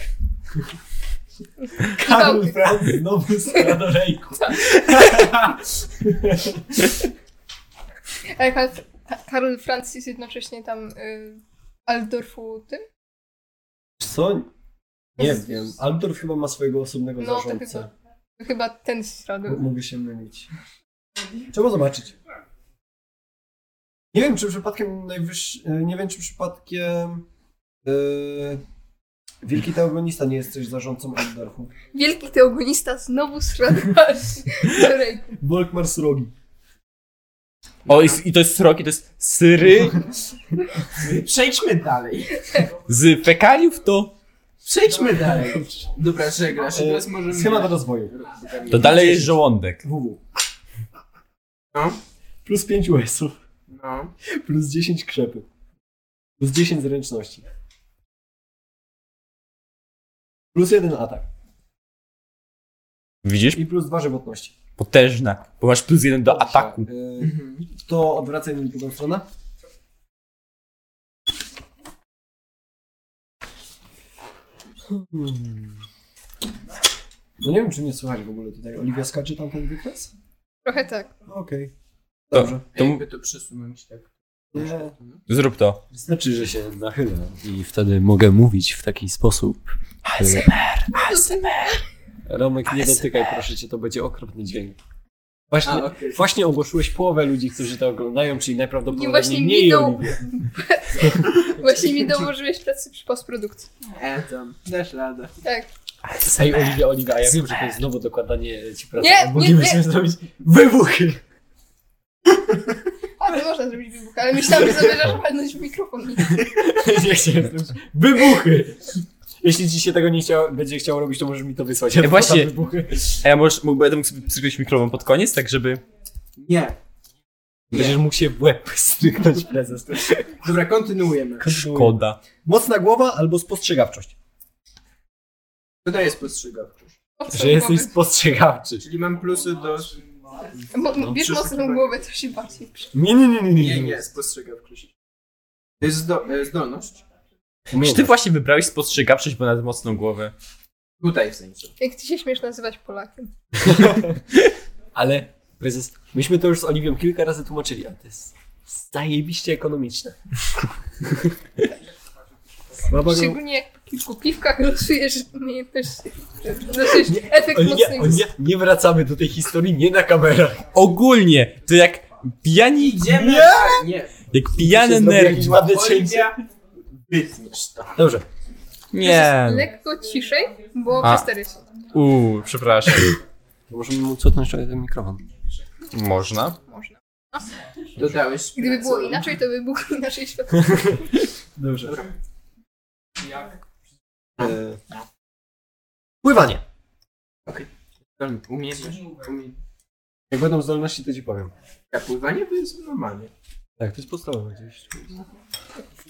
Karol Franz znowu strzela do rejku.
Ale Karol- Ka- Karol Franc jest jednocześnie tam y, Aldorfu tym?
Co? Nie wiem. Aldorf chyba ma swojego osobnego
No, to
zarządcę.
Chyba ten z
M-
środku.
Mogę się mylić. Trzeba zobaczyć. Nie wiem, czy przypadkiem najwyższy... e, Nie wiem, czy przypadkiem... Yy... Wielki Teogonista nie jest też zarządcą Aldorfu.
Wielki teogonista znowu sradłaś do rejku.
Volkmar Srogi.
O, i, i to jest sroki, to jest [laughs] syry.
Przejdźmy dalej.
Z fekaliów to...
Przejdźmy dalej. Dobra, żeglarz,
E,
teraz możemy...
Schemat rozwoju.
To dalej jest żołądek.
WW.
No.
Plus 5 US-ów.
No.
Plus 10 krzepy. Plus 10 zręczności. Plus jeden atak.
Widzisz?
I plus dwa żywotności.
Potężna. Bo masz plus jeden do
Dobrze,
ataku.
y, to odwracaj na drugą stronę. Hmm. No nie wiem, czy mnie słychać w ogóle tutaj. Oliwia skacze tam ten wykres?
Trochę tak.
Okej.
To-
Dobrze.
To
Jakby to przesunąć tak.
Nie.
Zrób to.
Znaczy, że się nachylę i wtedy mogę mówić w taki sposób. ASMR, ASMR. Romek, nie dotykaj, proszę cię, to będzie okropny dźwięk. Właśnie,
A, okej.
właśnie ogłoszyłeś połowę ludzi, którzy to oglądają, czyli
Nie,
najprawdopodobniej
właśnie
mniej
mi, do...
Oliwia.
[laughs] właśnie mi dołożyłeś pracy przy postprodukcji.
E, tam. Dasz radę.
Tak.
Hej, Oliwia, Oliwia, a ja wiem, że to jest znowu dokładanie ci pracy.
Nie, nie, nie.
Moglibyśmy zrobić wybuchy. [laughs]
A, to można zrobić wybuch, ale myślałam, że zamierzasz walnąć w mikrofon.
nie chciałem zrobić. Wybuchy! Jeśli ci się tego nie chciało, będzie chciało robić, to możesz mi to wysłać.
E,
Ja
Ja właśnie-
podam Wybuchy.
A ja może, mógłbym, będę mógł sobie przykryć mikrofon pod koniec, tak żeby...
Nie.
Będziesz mógł się w łeb stryknąć prezes.
Dobra, kontynuujemy.
Szkoda.
Mocna głowa albo spostrzegawczość.
Tutaj jest postrzegawczość.
Mocno
Że jesteś
głowy.
spostrzegawczy.
Czyli mam plusy do...
Mo-
No,
Bierz
Przyszło
mocną
tak.
chyba.
głowę, to się bardziej przyda.
Nie, nie, nie, nie,
Nie, nie, spostrzegawczość. To jest zdo... e, zdolność.
Czy ty właśnie wybrałeś spostrzegawczość, bo na mocną głowę?
Tutaj w sensie.
Jak ty się śmiesz nazywać Polakiem?
Ale prezes, myśmy to już z Oliwią kilka razy tłumaczyli, a to jest zajebiście ekonomiczne.
Szczególnie jak po kilku piwkach losujesz umiejętność, losujesz efekt
nie,
mocnego...
o nie, nie wracamy do tej historii, nie na kamerach.
Ogólnie, to jak pijani...
Idziemy!
Nie!
Nie.
Jak pijane
Zrobię jakieś
nerwy.
ładne cięcie.
Oliwia, wytniesz to.
Dobrze.
Nie.
Lekko ciszej, bo
A.
przestery się.
Uuu, przepraszam.
Możemy mu cofnąć ten mikrofon.
Można.
Można.
Dodałeś.
Gdyby było
pracę.
inaczej, to by było [laughs] inaczej świat.
Dobrze.
Jak?
E, Pływanie.
Zdolny- Umiejętność. Umie...
Jak będą zdolności, to ci powiem.
A pływanie to jest normalnie.
Tak, to jest podstawowe gdzieś.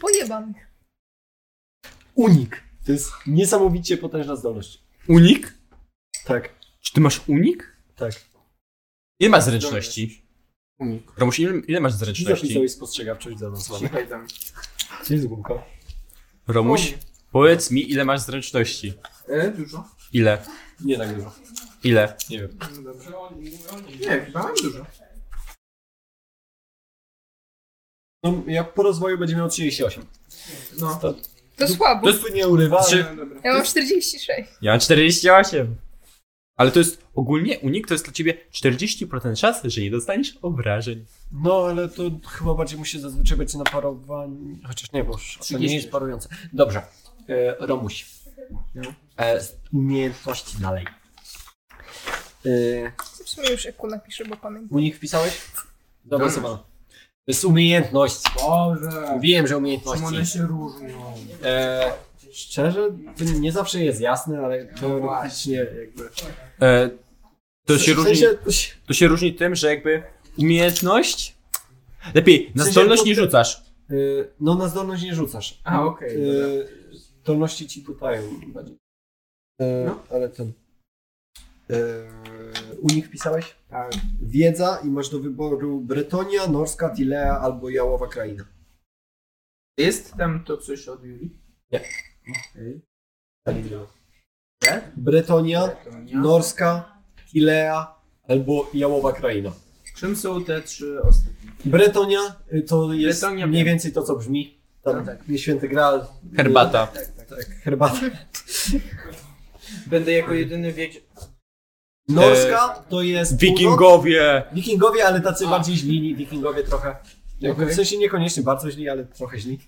Pojebany.
Unik. To jest niesamowicie potężna zdolność.
Unik?
Tak,
Czy ty masz unik?
tak.
Ile masz zręczności?
Unik.
Romuś, ile, ile masz
Czy
zręczności?
zapisałeś spostrzegawczość zaawansowaną?
Cichaj tam.
Gdzie jest gumka?
Romuś, powiedz mi, ile masz zręczności?
E, dużo.
Ile?
Nie tak dużo.
Ile?
Nie wiem.
No dobrze.
Że oni mówią, nie.
Nie, chyba mam dużo.
No, jak po rozwoju będzie miał 38.
No.
To słabo.
To jest nie urywa.
Trzy.
No, dobra.
Ja mam 46.
Ja mam 48. Ale to jest ogólnie unik to jest dla ciebie 40% szansy, że nie dostaniesz obrażeń.
No, ale to chyba bardziej musi zazwyczaj być na parowaniu. Chociaż nie, bo już to nie
30.
jest parujące. Dobrze. E, Romuś.
No.
E, z umiejętności dalej. E,
W sumie już eku napiszę, bo pamiętam.
u nich wpisałeś? Zaawansowano. To jest umiejętność.
Boże.
Wiem, że
Czemu one
umiejętności.
się różnią?
E, szczerze, to nie zawsze jest jasne, ale
No
teoretycznie jakby.
E, to, się
W
różni,
sensie to się-
to się różni tym, że jakby umiejętność. Lepiej, na
sensie
zdolność
to-
nie rzucasz.
e,
Y,
no, na zdolność nie rzucasz.
A, okej. dobra.
Yy, zdolności ci tutaj bardziej. Yy,
No.
Ale ten. Yy, u nich pisałeś?
Tak.
Wiedza i masz do wyboru Bretonia, Norska, Tilea albo Jałowa Kraina.
Jest tam to coś od Julii?
Nie.
Okej.
E? Bretonia,
Bretonia.
Norska, Tilea albo Jałowa Kraina.
Czym są te trzy ostatnie?
Bretonia y, to jest
Bretonia
mniej
wiem.
więcej to, co brzmi. Tam
No tak.
Święty Graal.
Herbata.
Yy, tak, herbata.
[laughs] Będę jako jedyny wiedział.
Norska
E,
to jest. północ-
Wikingowie!
Wikingowie, ale tacy bardziej źli, wikingowie trochę. Jakby
Okej.
W sensie niekoniecznie bardzo źli, ale trochę źli.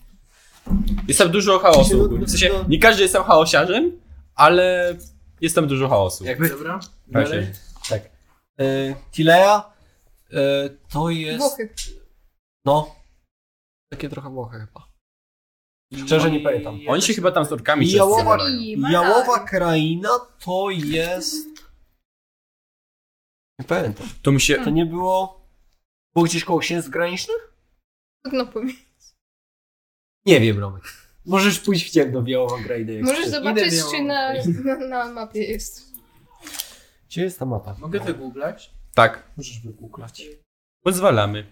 Jest tam dużo
No, no,
chaosu. ogólnie. W sensie,
no.
nie każdy jest tam chaosiarzem, ale jest tam dużo chaosu.
Jakby-
Dobra.
Raczej.
Tak. E, Tilea e, to jest...
Włochy.
No. Takie trochę Włochy chyba.
I-
Szczerze nie pamiętam.
Oni się chyba tam z orkami
I jałowa-
wszyscy walają.
I ma-
Jałowa Kraina to jest... Nie pamiętam.
To
Hmm.
mi się...
To nie było... Było gdzieś koło księstw granicznych?
Trudno powiedzieć.
Nie wiem, Romek. Możesz pójść w ciemno w Jałową Krainę. jak
Możesz
chcesz.
zobaczyć,
miało-
czy na, na, na mapie jest.
Gdzie jest ta mapa?
Mogę wygooglać?
Tak.
Możesz wygooglać.
Pozwalamy.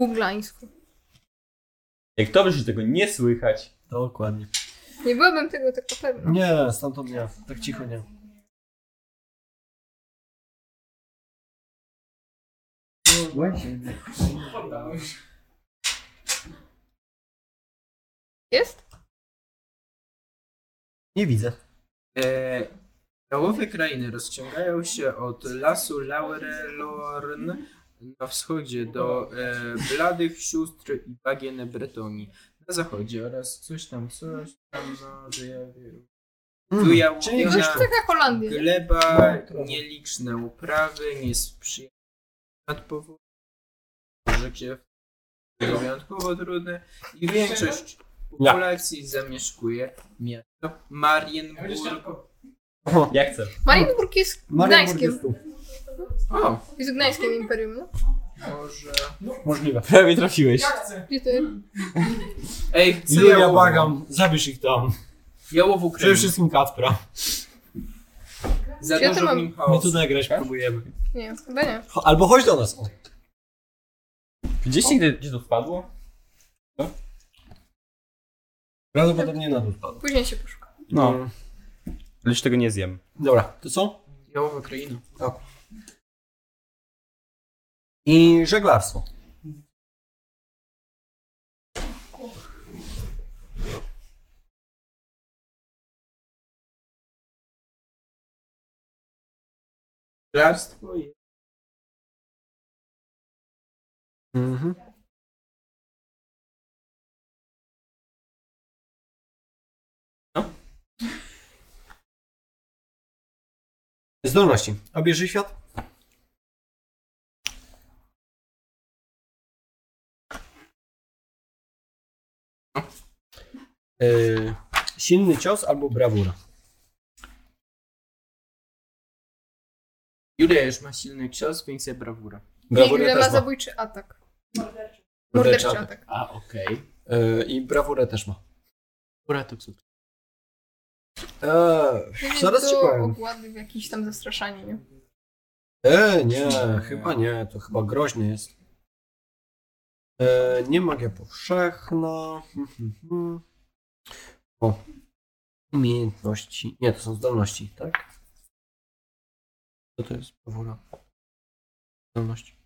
W Uglańsku.
Jak dobrze, że tego nie słychać.
Dokładnie.
Nie byłabym tego tak pewna.
Nie, stamtąd nie. Tak cicho nie.
Jest?
Nie widzę.
E, Jałowe krainy rozciągają się od lasu Laurelorn na wschodzie do e, Bladych Sióstr i Bagien Bretonii na zachodzie oraz coś tam, coś tam, no, że ja wiem. Tu ja
Czyli
No,
gdzieś
to taka Holandia. nie?
Gleba,
No, trochę.
nieliczne uprawy, niesprzyjające nadpowodzenie, życie wyjątkowo trudne i większość populacji zamieszkuje miasto
Ja będę
Marienburg.
szybko.
Ja chcę.
Marienburg jest
Marienburg
Gdańskiem.
jest tu.
O,
Jest Gdańskiem Imperium, no.
może...
Możliwe.
Prawie trafiłeś.
Ja chcę.
Gdzie to jest?
Ej, chcę
Julia,
jałową.
błagam, zabierz ich tam.
Jałową
Przede
krem.
wszystkim Kacpra.
Za
Ja to
dużo w
mam.
nim
My
chaosu.
tu nagrać próbujemy.
Nie, chyba nie.
Cho- Albo chodź do nas. O.
Gdzieś nigdy gdzie to wpadło?
Prawdopodobnie na dół spadł.
Później się poszuka.
No. Ale już tego nie zjem.
Dobra, to co?
Jałowa kraina.
I żeglarstwo.
Żarstwo i...
Mhm. Zdolności. Obieży świat? Yy, silny cios albo brawura.
Julia już ma silny cios, więc ja brawura.
Nigdy ma zabójczy atak. Morderczy
Morderczy
atak.
A, okej. Okay.
Yy, I brawurę też ma.
Brawura to cud.
Eee,
Czyli
Zaraz ci
do
powiem.
ogłady w jakimś tam zastraszaniu, nie?
E, nie, chyba nie, to chyba groźny jest.
Hmm,
E, nie magia powszechna. Mhm, mhm.
Umiejętności. Nie, to są zdolności, tak? Co to jest powóra? Zdolności.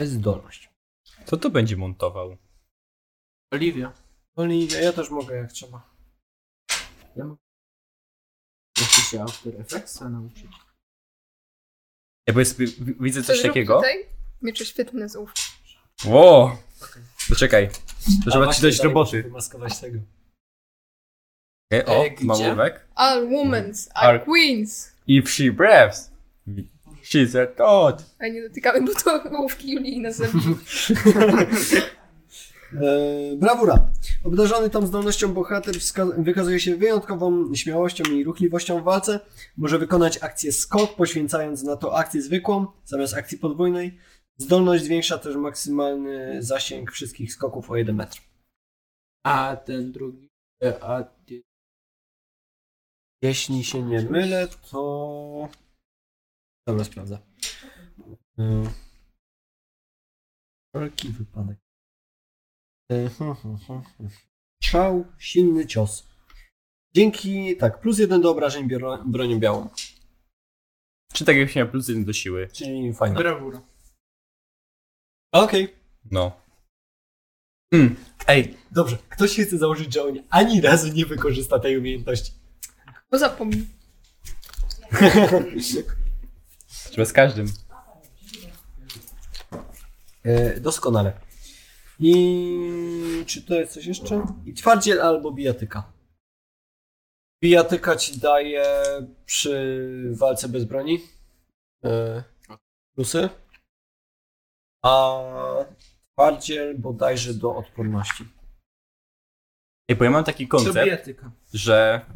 Zdolność.
Co to będzie montował?
Oliwia.
Oliwia, ja też mogę jak trzeba.
Musi się After Effectsa nauczyć.
Ja bo jest, wi- widzę coś
zrób
takiego.
Tutaj? Mieczy świetny z ów.
Ło! To czekaj. To trzeba ci
właśnie
dać
dalej
roboty.
muszę Wymaskować tego.
Okej, o,
E,
mam
gdzie?
ołówek.
All women's are
Are-
queens.
If she breathes, she's a god.
A nie dotykamy, bo to ołówki Julii nas zabiją.
E, brawura. Obdarzony tą zdolnością bohater wska- wykazuje się wyjątkową śmiałością i ruchliwością w walce. Może wykonać akcję skok, poświęcając na to akcję zwykłą zamiast akcji podwójnej. Zdolność zwiększa też maksymalny zasięg wszystkich skoków o 1 metr.
A ten drugi. e, A ty.
Jeśli się nie mylę, to... Dobra, sprawdzę. E, Wszelki wypadek. E, hm, hm, hm, hm. Strzał, silny cios. Dzięki, tak, plus jeden do obrażeń bioro, bronią białą.
Czy tak jak się miał plus jeden do siły?
Czyli fajna.
Brawura.
Okej,
No. Mm. Ej,
dobrze. Ktoś się chce założyć, że on ani razu nie wykorzysta tej umiejętności.
Bo zapomnij.
trzeba z każdym.
E, doskonale. I czy to jest coś jeszcze? I twardziel albo bijatyka. Bijatyka ci daje przy walce bez broni e, plusy, a twardziel bodajże do odporności.
Ej, bo ja mam taki koncept.
Sobietyka.
że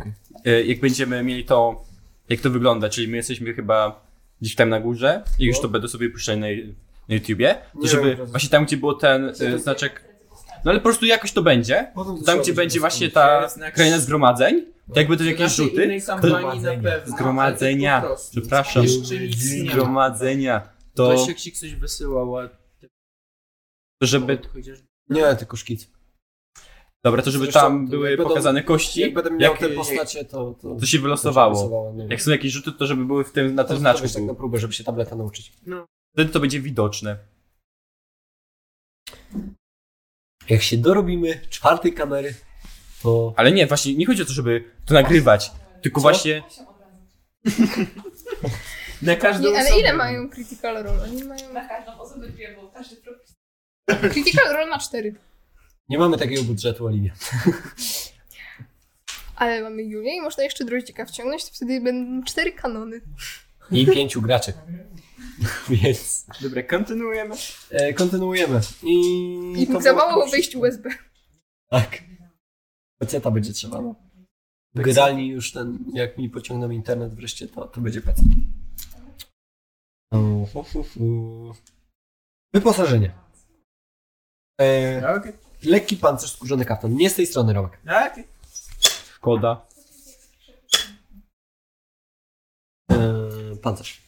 y, jak będziemy mieli to, jak to wygląda, czyli my jesteśmy chyba gdzieś tam na górze i już to będę sobie puszczać na, na YouTubie, to
Nie
żeby
wiem, teraz-
właśnie tam, gdzie było ten y, znaczek, no ale po prostu jakoś to będzie, to tam, gdzie będzie właśnie ta
Znak-
kraina zgromadzeń, to jakby to
To
jakieś
naszej
rzuty,
innej kampanii na pewno.
Zgromadzenia.
Po prostu.
Przepraszam.
Jeszcze nic nie ma.
zgromadzenia, to
Ktoś jak ci coś wysyłała,
żeby,
No.
to chociaż
Nie, tylko szkic.
dobra, to żeby
Zresztą,
tam
to
były
jak będą-
pokazane kości,
Jak będę miał
jak,
te postacie, to... To,
to się wylosowało.
no.
Jak są jakieś rzuty, to żeby były w tym, na
to
tym
znaczy
znaczku.
tak na
były.
próbę, żeby się tableta nauczyć.
Wtedy to będzie widoczne.
Jak się dorobimy czwartej kamery, to...
Ale nie, właśnie nie chodzi o to, żeby to nagrywać, tylko właśnie
Na każdą
Nie, ale
osobę.
ile mają Critical Role? Oni mają...
Na każdą osobę dwie, bo każdy próg
Critical Role ma cztery.
Nie mamy takiego budżetu, Oliwia.
Ale mamy Julię i można jeszcze droździka wciągnąć, to wtedy będą cztery kanony.
I pięciu graczy. [laughs] Więc
Dobra, kontynuujemy.
e, kontynuujemy. I,
I
to
za
było-
mało wyjść USB.
Tak. Peceta będzie trzeba. No. Generalnie już ten, jak mi pociągną internet wreszcie, to, to będzie pecet. U, fu, fu, fu. Wyposażenie. E,
Okej. Okay.
lekki pancerz, skórzany kaftan. Nie z tej strony, Romek.
Okej.
szkoda.
E, pancerz.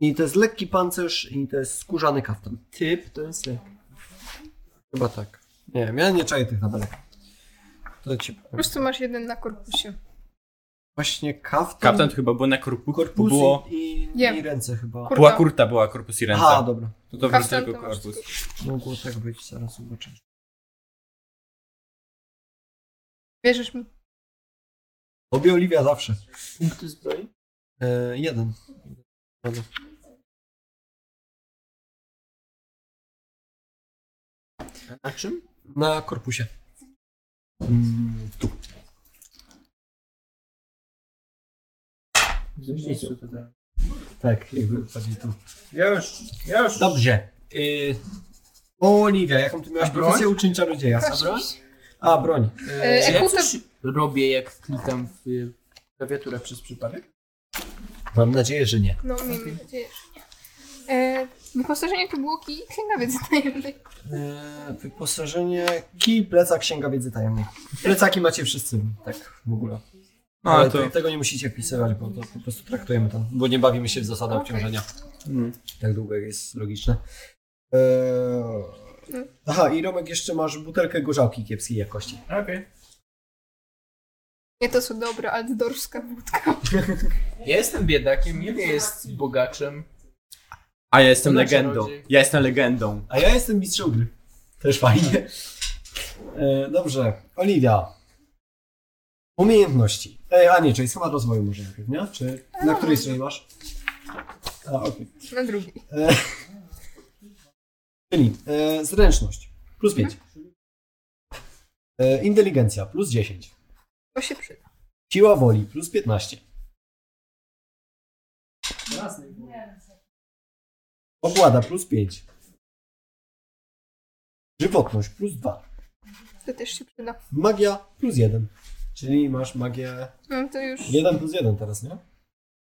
I to jest lekki pancerz i to jest skórzany kaftan.
Typ to jest lek.
Chyba tak. Nie wiem, ja nie czaję tych tabelek. To ci
Po prostu masz jeden na korpusie.
Właśnie kaftan,
Kaptan to chyba był na korpu,
korpus
było,
i,
Nie.
i ręce chyba.
Kurwa.
była kurta, była korpus i ręka.
Aha, dobra.
to to wreszcie
Kaftan
tylko
to masz
korpus.
tylko-
Mogło tak być, zaraz zobaczę.
Wierzysz mi?
Obie Oliwia zawsze.
Punkty zbroi?
E, jeden.
A czym?
Na korpusie. Mm, tu. Tak, jakby bardziej tu.
Już, już.
Dobrze. Y, Oliwia, jaką ty miałaś
A broń?
profesję uczeń czarodzieja? A, broń.
E,
Czy ja
Ekuta-
coś robię, jak klikam w y, klawiaturę przez przypadek?
Mam nadzieję, że nie.
No, miejmy nadzieję, że nie. E, wyposażenie to było kij i księga wiedzy tajemnej. [laughs]
Y,
E, wyposażenie, kij, plecak, księga wiedzy tajemnej. Plecaki macie wszyscy, tak w ogóle.
No,
ale
ale to-
tego nie musicie wpisywać, bo to po prostu traktujemy to, bo nie bawimy się w zasadę obciążenia. Tak długo jak jest logiczne. Eee... Aha, i Romek jeszcze masz butelkę gorzałki kiepskiej jakości.
Nie, to są dobre, altdorska wódka.
Ja jestem biedakiem, Julia jest bogaczem.
A ja jestem
To na
legendą.
znaczy-
czarodziej.
Ja jestem legendą.
A ja jestem mistrzem gry. Też fajnie. E, dobrze, Oliwia. Umiejętności. E, a nie, czyli schema rozwoju może najpierw, nie? Czy na której stronie masz? A, okej.
Na drugiej.
E, Czyli e, zręczność plus 5. E, inteligencja plus 10.
To się przyda.
Siła woli plus 15. Ogłada plus 5. Żywotność plus 2.
To też się przyda.
Magia plus 1. Czyli masz magię
No to już...
1 plus 1 teraz, nie?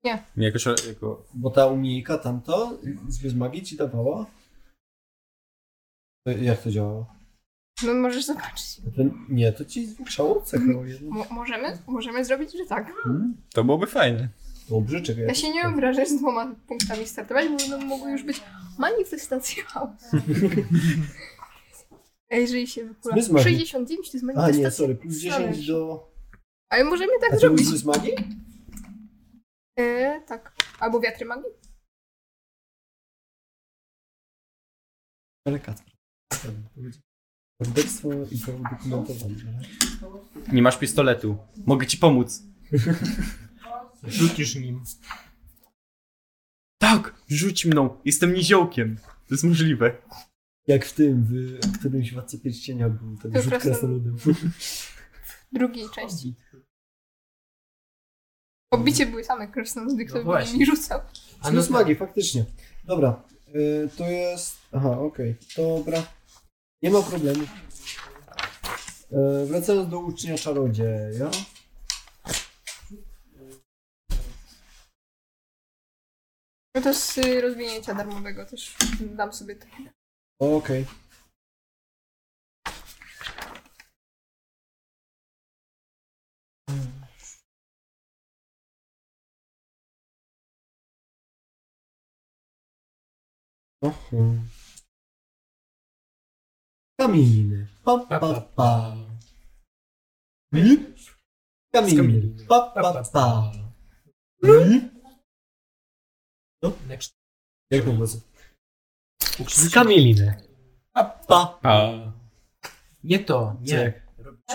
Nie, Jako, szar- jako...
Bo ta umiejka tamto z z magii ci dawała. E, Jak to działało?
No możesz zobaczyć.
To, nie, to ci zwiększało cechę o jeden.
Mo- możemy? Możemy zrobić, że tak.
To byłoby fajne.
Dobrze, czekaj.
Ja się nie mam wrażenia, że z dwoma punktami startować, bo będą mogły już być manifestacje chaosu. [laughs] A jeżeli się wykula...
My z magii.
69 to jest
A nie,
manifestacja.
sorry, plus 10 do...
Ale możemy
A
tak
czy
zrobić.
mój z magii?
E, tak. Albo wiatry magii.
Ale Kacper. Morderstwo i prawo dokumentowane.
Nie masz pistoletu. Mogę ci pomóc.
Rzucisz nim.
Tak, rzuć mną. Jestem niziołkiem. To jest możliwe.
Jak w tym, w którymś Władcy Pierścienia był ten
To
rzut
krasnolud.
krasnoludem.
Drugiej części. Pobicie były same krasnoludy, kto by
No właśnie.
mi rzucał.
A no z magii, faktycznie. Dobra, y, to jest... Aha, okej, dobra. Nie ma problemu. Y, wracając do ucznia czarodzieja.
No to z y, rozwinięcia darmowego też dam sobie to.
Okej. Oho. Kaminy. Pa, pa, pa. Kaminy. Pa, pa, pa.
Hmm? No.
Jak mam głos? Z kamieliny. Pa, pa.
Nie to,
Co
nie.
jak?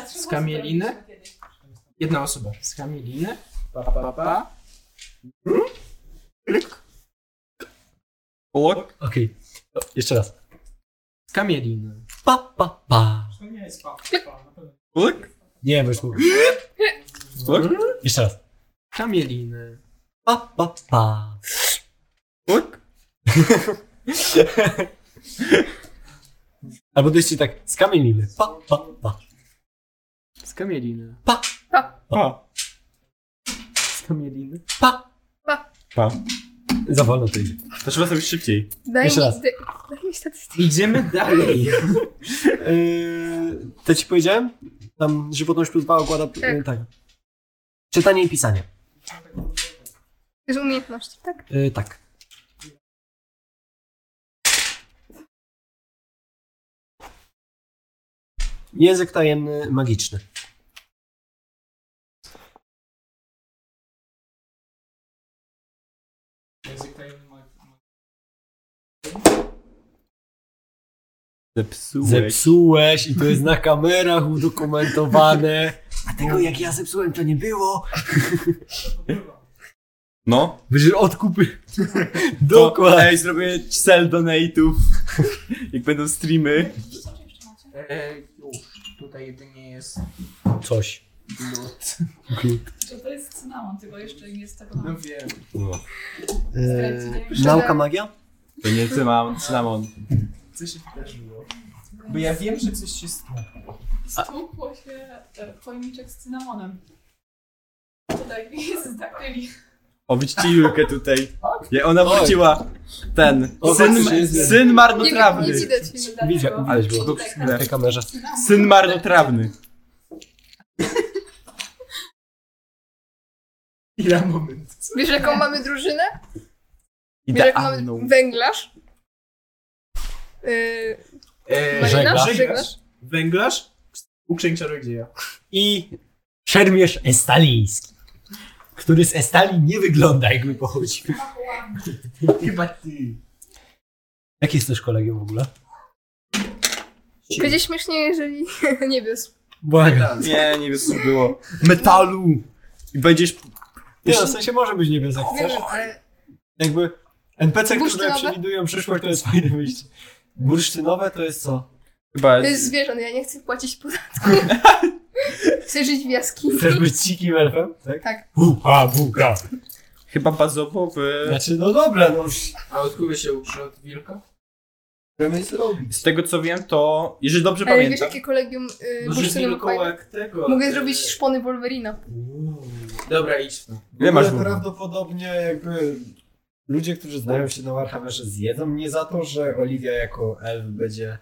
Z kamieliny? Jedna osoba. Z kamieliny. Pa, pa, pa.
Łok?
Okej. O, Jeszcze raz.
Z kamieliny.
Pa, pa, pa.
Łok?
Nie, bo już mówię.
Łok?
Mhm. Jeszcze raz.
Z kamieliny.
Pa, pa, pa.
Łok?
[laughs] Albo to jeszcze tak z kamieniny. Pa, pa, pa.
Z kamieliny.
Pa,
Pa.
Z kamieliny.
pa.
Pa.
Za wolno to idzie.
To trzeba zrobić szybciej.
Daj
Jeszcze
mi,
raz.
Daj, daj mi statystyki.
Idziemy dalej.
E,
Yy, to ci powiedziałem? Tam żywotność plus dwa okłada...
Tak.
e,
Yy, tak. Czytanie i pisanie.
Z umiejętności, tak?
Yy, tak. Język tajemny, magiczny.
Zepsułeś.
Zepsułeś i to jest na kamerach udokumentowane. A tego jak ja zepsułem to nie było.
No.
Będziesz odkupy.
To,
Dokładnie.
ej, zrobię cel donate'ów. [laughs] Jak będą streamy.
E, już. Tutaj jedynie jest
Coś.
lód.
To jest cynamon, tylko jeszcze nie jest tego
No wiem.
Eee, nauka magia?
To nie cynamon, cynamon.
Co się wydarzyło? Bo ja wiem, że coś się stało.
Stłukło się e, pojemniczek z cynamonem. Tutaj [laughs] jest daktyli.
O, widzicie Julkę tutaj. Ja, ona wróciła. Ten.
O,
Syn,
faktycznie.
syn
Nie, wiem, nie
marnotrawny.
widać.
Widzę,
Ale
widać było.
było
Na
chwilę.
tej kamerze.
Syn marnotrawny.
Chwila, moment.
Wiesz, jaką mamy drużynę? Wiesz, jaką
Idealną.
mamy węglarz? Yy,
E,
marynarz?
żeglarz,
Żeglarz?
Węglarz? Uczeń czarodzieja.
I szermierz estaliński, który z Estali nie wygląda jakby pochodził.
Chyba ty.
Jak jesteś kolegium w ogóle?
Będzie śmiesznie, jeżeli [laughs] nie wiesz.
Błagam.
Nie, nie wiesz co było. Metalu! I będziesz...
Nie, no, w sensie może być nie bez jak
Nie
chcesz.
wiem, ale
Jakby NPC, które
Bursztynowe?
przewidują przyszłość, to jest fajne wyjście. Bursztynowe to jest co?
Chyba...
to jest zwierząt, ja nie chcę płacić podatku.
[laughs]
chcę żyć w jaskini.
Chcesz być dzikim elfem? Tak.
Tak.
Buka, buka.
Chyba bazowo w...
Znaczy, no dobra, no.
A od kogo się uczy od wilka?
Chcemy zrobić.
Z tego co wiem, to... Jeżeli dobrze
Ale wiesz,
pamiętam...
jakie kolegium yy,
No, że
bursztynowe
tylko
fajne?
jak tego.
Mogę
e,
zrobić szpony Wolverina.
Dobra, idź w to.
Ile masz
Ale
w-
prawdopodobnie jakby ludzie, którzy znają się na Warhammerze zjedzą mnie za to, że Olivia jako elf będzie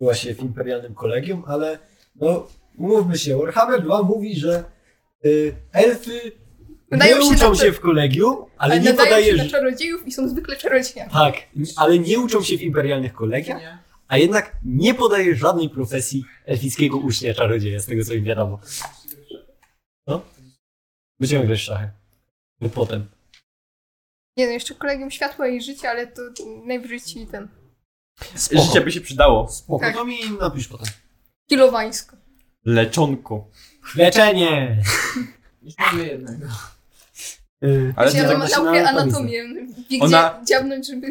była się w imperialnym kolegium, ale no mówmy się, Warhammer 2 mówi, że y, elfy
Nadają
nie
się
uczą
na-
się w kolegium, ale,
Ale
nie
nadają się
podaje,
na
że...
czarodziejów i są zwykle czarodziejami.
Tak, ale nie uczą się w imperialnych kolegiach,
Nie.
a jednak nie podaje żadnej profesji elfickiego ucznia czarodzieja, z tego co mi wiadomo. No? Będziemy grać w szachy. Lub Potem.
Nie no, jeszcze kolegium światła i życia, ale to najwyżej ci ten...
Spoko.
Życie by się przydało.
Spoko,
Tak.
to mi napisz potem.
Kilowańsko.
Leczonku.
Leczenie!
Już mamy jednego.
Ale
Czyli
nie
ona
tak
ma
właśnie
Znaczy, naukę
na anatomii.
anatomię. Wie
Ona-
gdzie dziabnąć, żeby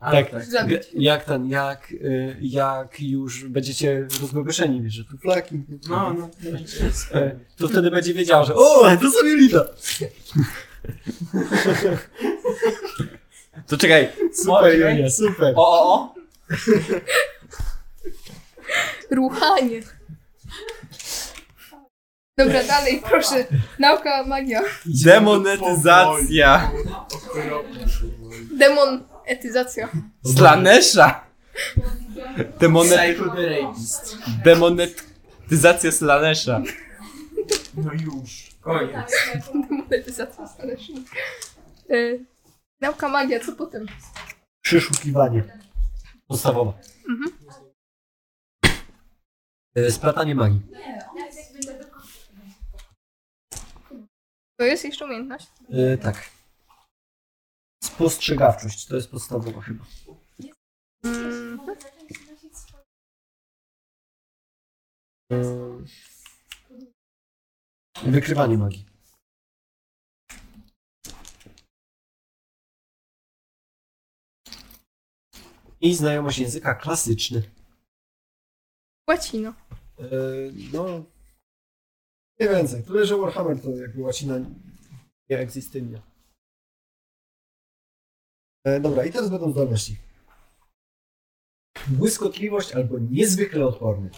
A,
Tak.
zabić.
J- Jak ten, jak, y, jak już będziecie rozgogoszeni, wiesz, że tu flaki,
No, no, no idź.
y, to wtedy będzie wiedział, że o, to sobie lida.
To czekaj.
Super, Julia, super.
O, o, o.
Ruchanie. Dobra, dalej, proszę. Nauka, magia.
Demonetyzacja.
Okropnie.
Demon, etyzacja.
Slanesza. Demonet...
Psycho the Rapist.
Demonetyzacja Slanesza.
No już. Koniec.
Demon, etyzacja. zależy. Y, Nauka, magia, co potem?
Przyszukiwanie. Podstawowe.
Mhm.
Y, Splatanie magii.
To jest jeszcze umiejętność.
Y, tak. Spostrzegawczość, to jest podstawowa chyba.
Mm,
Wykrywanie magii. I znajomość języka klasyczny.
Łacino.
no. Nie więcej. Tyle, że Warhammer to jakby łacina nie egzystuje. E, dobra, i teraz będą zdolności. Błyskotliwość albo niezwykle odporny.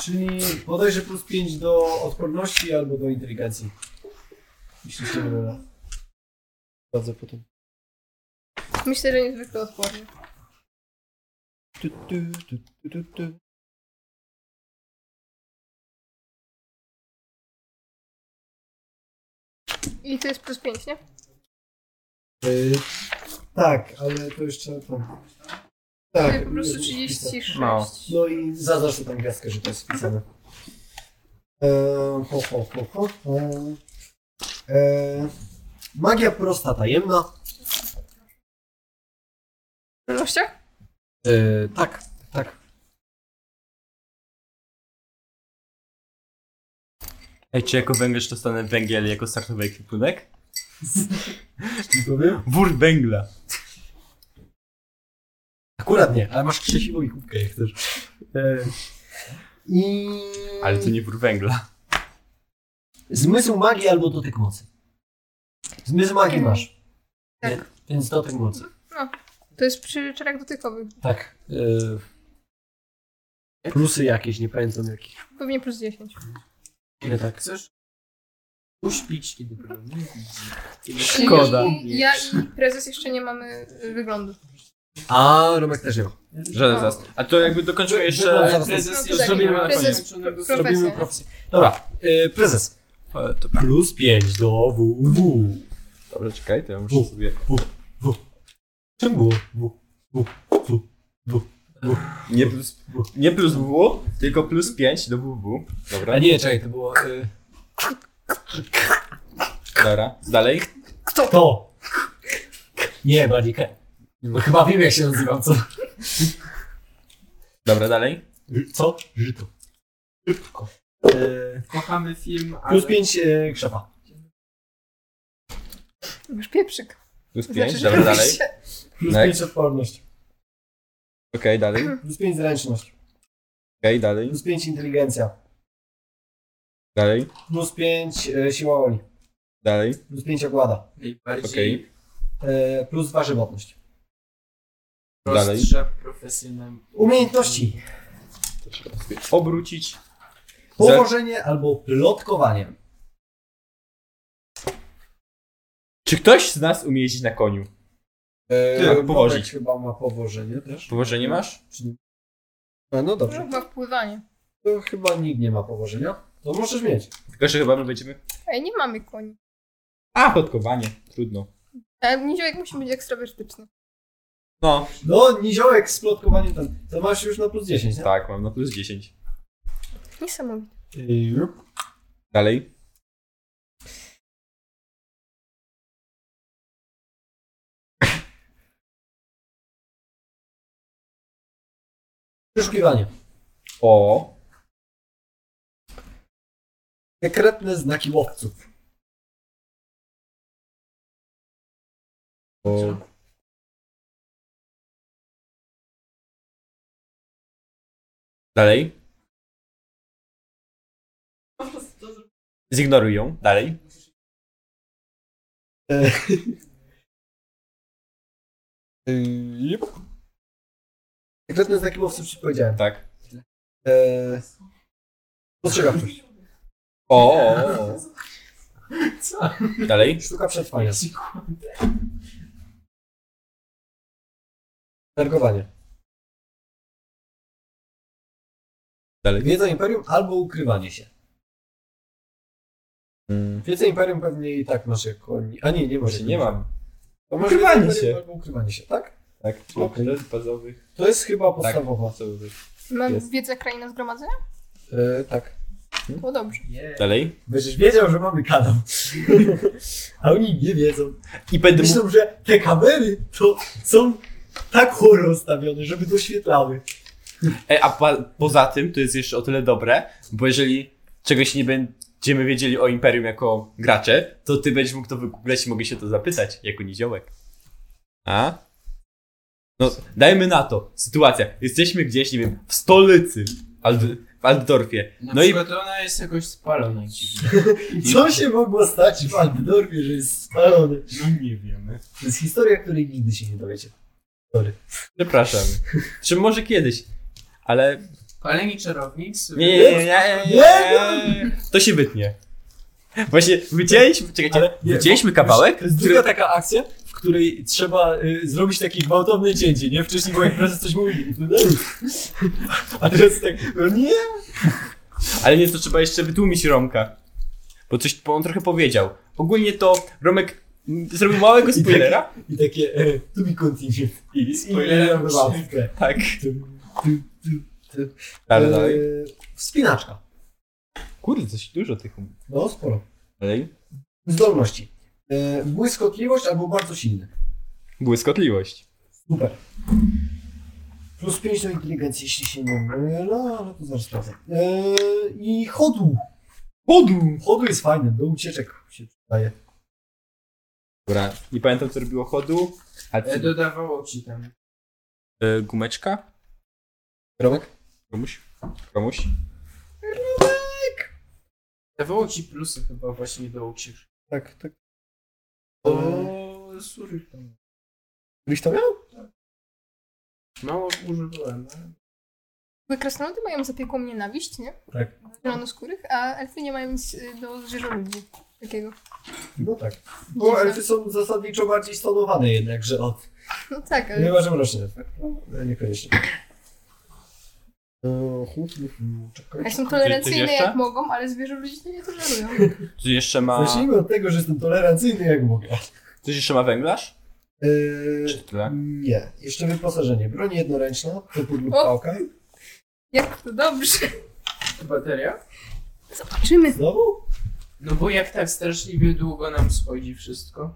Czyli bodajże plus 5 do odporności albo do inteligencji. Jeśli się nie mylę. Sprawdzę potem.
Myślę, że niezwykle odporny.
Tu, tu, tu, tu, tu, tu.
I to jest plus 5, nie?
Y, tak, ale to jeszcze tam. Tak.
Czyli po prostu
jest wpisane.
36.
No.
No i zaznacz tu tam gwiazdkę, że to jest wpisane. E, ho, ho, ho, ho, ho. E, magia prosta, tajemna.
Zdolnościach?
E, tak, tak.
Ej, czy jako węgierz dostanę węgiel jako startowy ekwipunek?
Powiem?
Wór węgla.
Akurat nie, ale masz krzesiwo i kubkę, jak chcesz. E, I...
Ale to nie wór węgla.
Zmysł magii albo dotyk mocy. Zmysł magii masz.
Tak.
Nie? Więc dotyk mocy.
To jest przy czarach dotykowych.
Tak. E, plusy jakieś, nie pamiętam jakich.
Pewnie plus 10.
Nie tak.
Chcesz uśpić, kiedy go nie widzi. Kiedy
Szkoda.
Nie.
Ja i prezes jeszcze nie mamy y, wyglądu.
A, Romek też ją.
Żaden zas. A to jakby dokończymy jeszcze...
Zaraz,
Prezes
No to
jeszcze
tak,
nie ma
prezes-
skończonego
Profesja.
Robimy profesję. Dobra, e, prezes.
E, to-
Plus 5 do WW.
Dobrze, czekaj, to ja muszę sobie...
Czym było? W.
Nie plus, nie plus WW, tylko plus 5 do WW. Dobra,
A nie, czekaj, to było... Y...
dobra. Dalej.
Kto to? Nie, Balikę. Bo chyba wiem, jak się nazywam, co?
Dobra, dalej.
Co? Żyto. Szybko. Y...
Kochamy film, ale...
Plus 5 y... krzepa.
Masz pieprzyk.
Plus 5,
Znaczy, że
dobra,
robisz
dalej. Okej,
się-
Plus
Tak.
5 odporność.
dalej. Okej,
Plus 5 zręczność.
dalej.
Plus 5 inteligencja.
Dalej,
Plus 5 y... siła woli.
dalej.
Plus 5 ogłada.
Najbardziej
Okej,
Y... Plus 2 żywotność.
dalej.
prostsza profesjonalna.
Umiejętności.
To trzeba sobie obrócić.
Położenie albo plotkowanie.
Czy ktoś z nas umie jeździć na koniu?
Yy,
Tak, powozić.
chyba ma powożenie też.
Położenie masz?
A, no dobrze.
Chyba wpływanie.
To chyba nikt nie ma powożenia. To możesz mieć.
Tylko, że chyba my będziemy...
Ej, nie mamy koni.
A, plotkowanie. Trudno.
Ale Niziołek musi być ekstrawertyczny.
No,
No, niziołek z plotkowaniem ten. To masz już na plus 10, tak?
tak, mam na plus 10.
Niesamowite.
Dalej.
Przeszukiwanie.
O,
Sekretne znaki łowców.
o. Dalej. Zignoruj ją. Dalej.
Sekretne znaki łowców ci powiedziałem.
Tak.
Eee, spostrzegawczość.
O. o, o. Dalej.
Sztuka przetrwania. Targowanie.
Dalej.
Wiedza imperium albo ukrywanie się.
Mm,
Wiedza imperium pewnie i tak masz jako. A nie, nie masz.
Właśnie nie mam.
To masz
Ukrywanie
wiedzę imperium
się.
Albo ukrywanie się, tak?
Tak, czyli
Okej.
okay. bazowych.
To jest
Tak.
chyba podstawowa.
bazowych.
Mam
Jest.
wiedzę kraina zgromadzenia?
Eee, tak.
To dobrze.
Yeah.
Dalej.
Będziesz wiedział, że mamy
[laughs]
kanał. A oni nie wiedzą.
I będę mógł...
Myślą, że te kamery to są tak choro ustawione, żeby doświetlały.
Ej, a pa- poza tym to jest jeszcze o tyle dobre, bo jeżeli czegoś nie będziemy wiedzieli o Imperium jako gracze, to ty będziesz mógł to wygooglać i mogę się to zapytać jako niziołek. A? No, dajmy na to. Sytuacja. Jesteśmy gdzieś, nie wiem, w stolicy Ald- w Altdorfie.
Na
No i
przykład ona jest jakoś spalona dziwnie.
Co się mogło stać w Andorwie, że jest spalony?
No nie wiemy.
To jest historia, której nigdy się nie dowiecie.
przepraszam. Czy może kiedyś? Ale
Kolejny czarownik sobie...
Nie, nie, nie, nie, nie, nie, nie. To się wytnie. Właśnie wycięliśmy, czekajcie,
Ale nie,
wycięliśmy
bo-
kawałek,
To jest
który...
druga taka akcja, w której trzeba y, zrobić takie gwałtowne cięcie, nie? Wcześniej była impreza, coś mówili. A teraz tak, no nie,
Ale nie, to trzeba jeszcze wytłumić Romka. Bo coś, bo on trochę powiedział. Ogólnie to Romek mm, zrobił małego spoilera.
I takie e, to be continued. I e,
spoilerem
spoilerem wywalkę.
Tak.
E,
Dalej, dalej.
Wspinaczka.
Kurde, coś dużo tych um-
No, sporo.
Dalej.
Zdolności. E, błyskotliwość albo bardzo silny.
Błyskotliwość.
Super. Plus 5 do inteligencji, jeśli się nie mylę, ale to zaraz sprawdzę. E, I chodu.
Podu!
Chodu jest fajny, do ucieczek się przydaje.
Dobra, nie pamiętam co robiło chodu. A
E,
ty,
Dodawało ci tam.
e, gumeczka?
Romek?
Komuś? Komuś?
Dawało ci plusy chyba właśnie do ucieczki.
Tak, tak.
O, sorry. tam.
Gdyś to miał?
Mało używałem, ale...
Bo krasnoludy mają zapiekłą nienawiść, nie?
Tak.
Zielonoskórych, a elfy nie mają nic y, do zwierzoludzi takiego.
No tak. Bo elfy są zasadniczo bardziej stonowane jednakże od...
No tak, ale
Chyba, że mroczny efekt. No, Niekoniecznie. E, hu, hu, hu,
Ja
Czekaj.
są
Coś
tolerancyjne
jeszcze?
jak mogą, ale zwierzę ludzi to nie tolerują.
Coś jeszcze ma.
Zacznijmy od tego, że jestem tolerancyjny jak mogę.
Coś jeszcze ma węglarz?
E,
Czy tyle?
nie, jeszcze wyposażenie. Broń jednoręczna, topór lub
O!
pałka.
Jak to dobrze.
Bateria?
Zobaczymy.
Znowu?
No bo jak tak straszliwie długo nam schodzi wszystko,